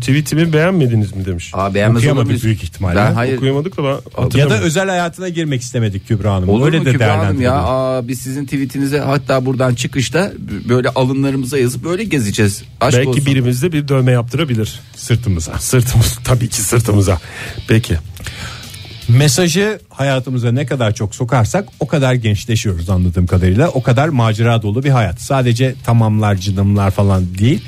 tweetimi beğenmediniz mi demiş. Aa, beğenmez Okuyamadık olabilir. büyük ihtimalle. Ben hayır. Okuyamadık da ben ya hatırlamıyorum. da özel hayatına girmek istemedik Kübra Hanım. Olur Öyle mu de Kübra Hanım ya? değerlendirebiliriz. Aa, biz sizin tweetinize hatta buradan çıkışta b- böyle alınlarımıza yazıp böyle gezeceğiz. Aşk Belki olsun. birimiz de bir dövme yaptırabilir. sırtımıza. Sırtımız tabii ki sırtımıza. Peki. Mesajı hayatımıza ne kadar çok sokarsak o kadar gençleşiyoruz anladığım kadarıyla. O kadar macera dolu bir hayat. Sadece tamamlar cıdımlar falan değil.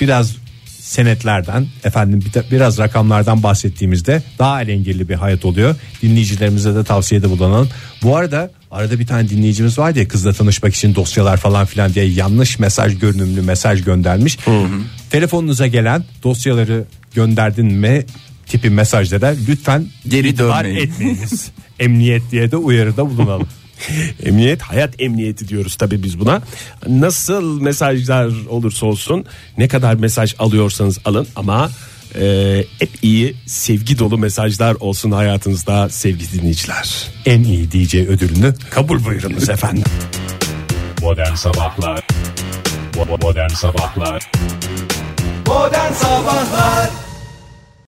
Biraz senetlerden efendim bir de- biraz rakamlardan bahsettiğimizde daha alengirli bir hayat oluyor. Dinleyicilerimize de tavsiyede bulunalım. Bu arada arada bir tane dinleyicimiz var ya kızla tanışmak için dosyalar falan filan diye yanlış mesaj görünümlü mesaj göndermiş. Telefonunuza gelen dosyaları gönderdin mi tipi mesajlara lütfen Geri itibar dönmeyin. etmeyiniz. Emniyet diye de uyarıda bulunalım. Emniyet hayat emniyeti diyoruz tabii biz buna. Nasıl mesajlar olursa olsun ne kadar mesaj alıyorsanız alın ama e, hep iyi sevgi dolu mesajlar olsun hayatınızda sevgili dinleyiciler. en iyi DJ ödülünü kabul buyurunuz efendim. Modern Sabahlar Bo- bo- Modern Sabahlar Modern Sabahlar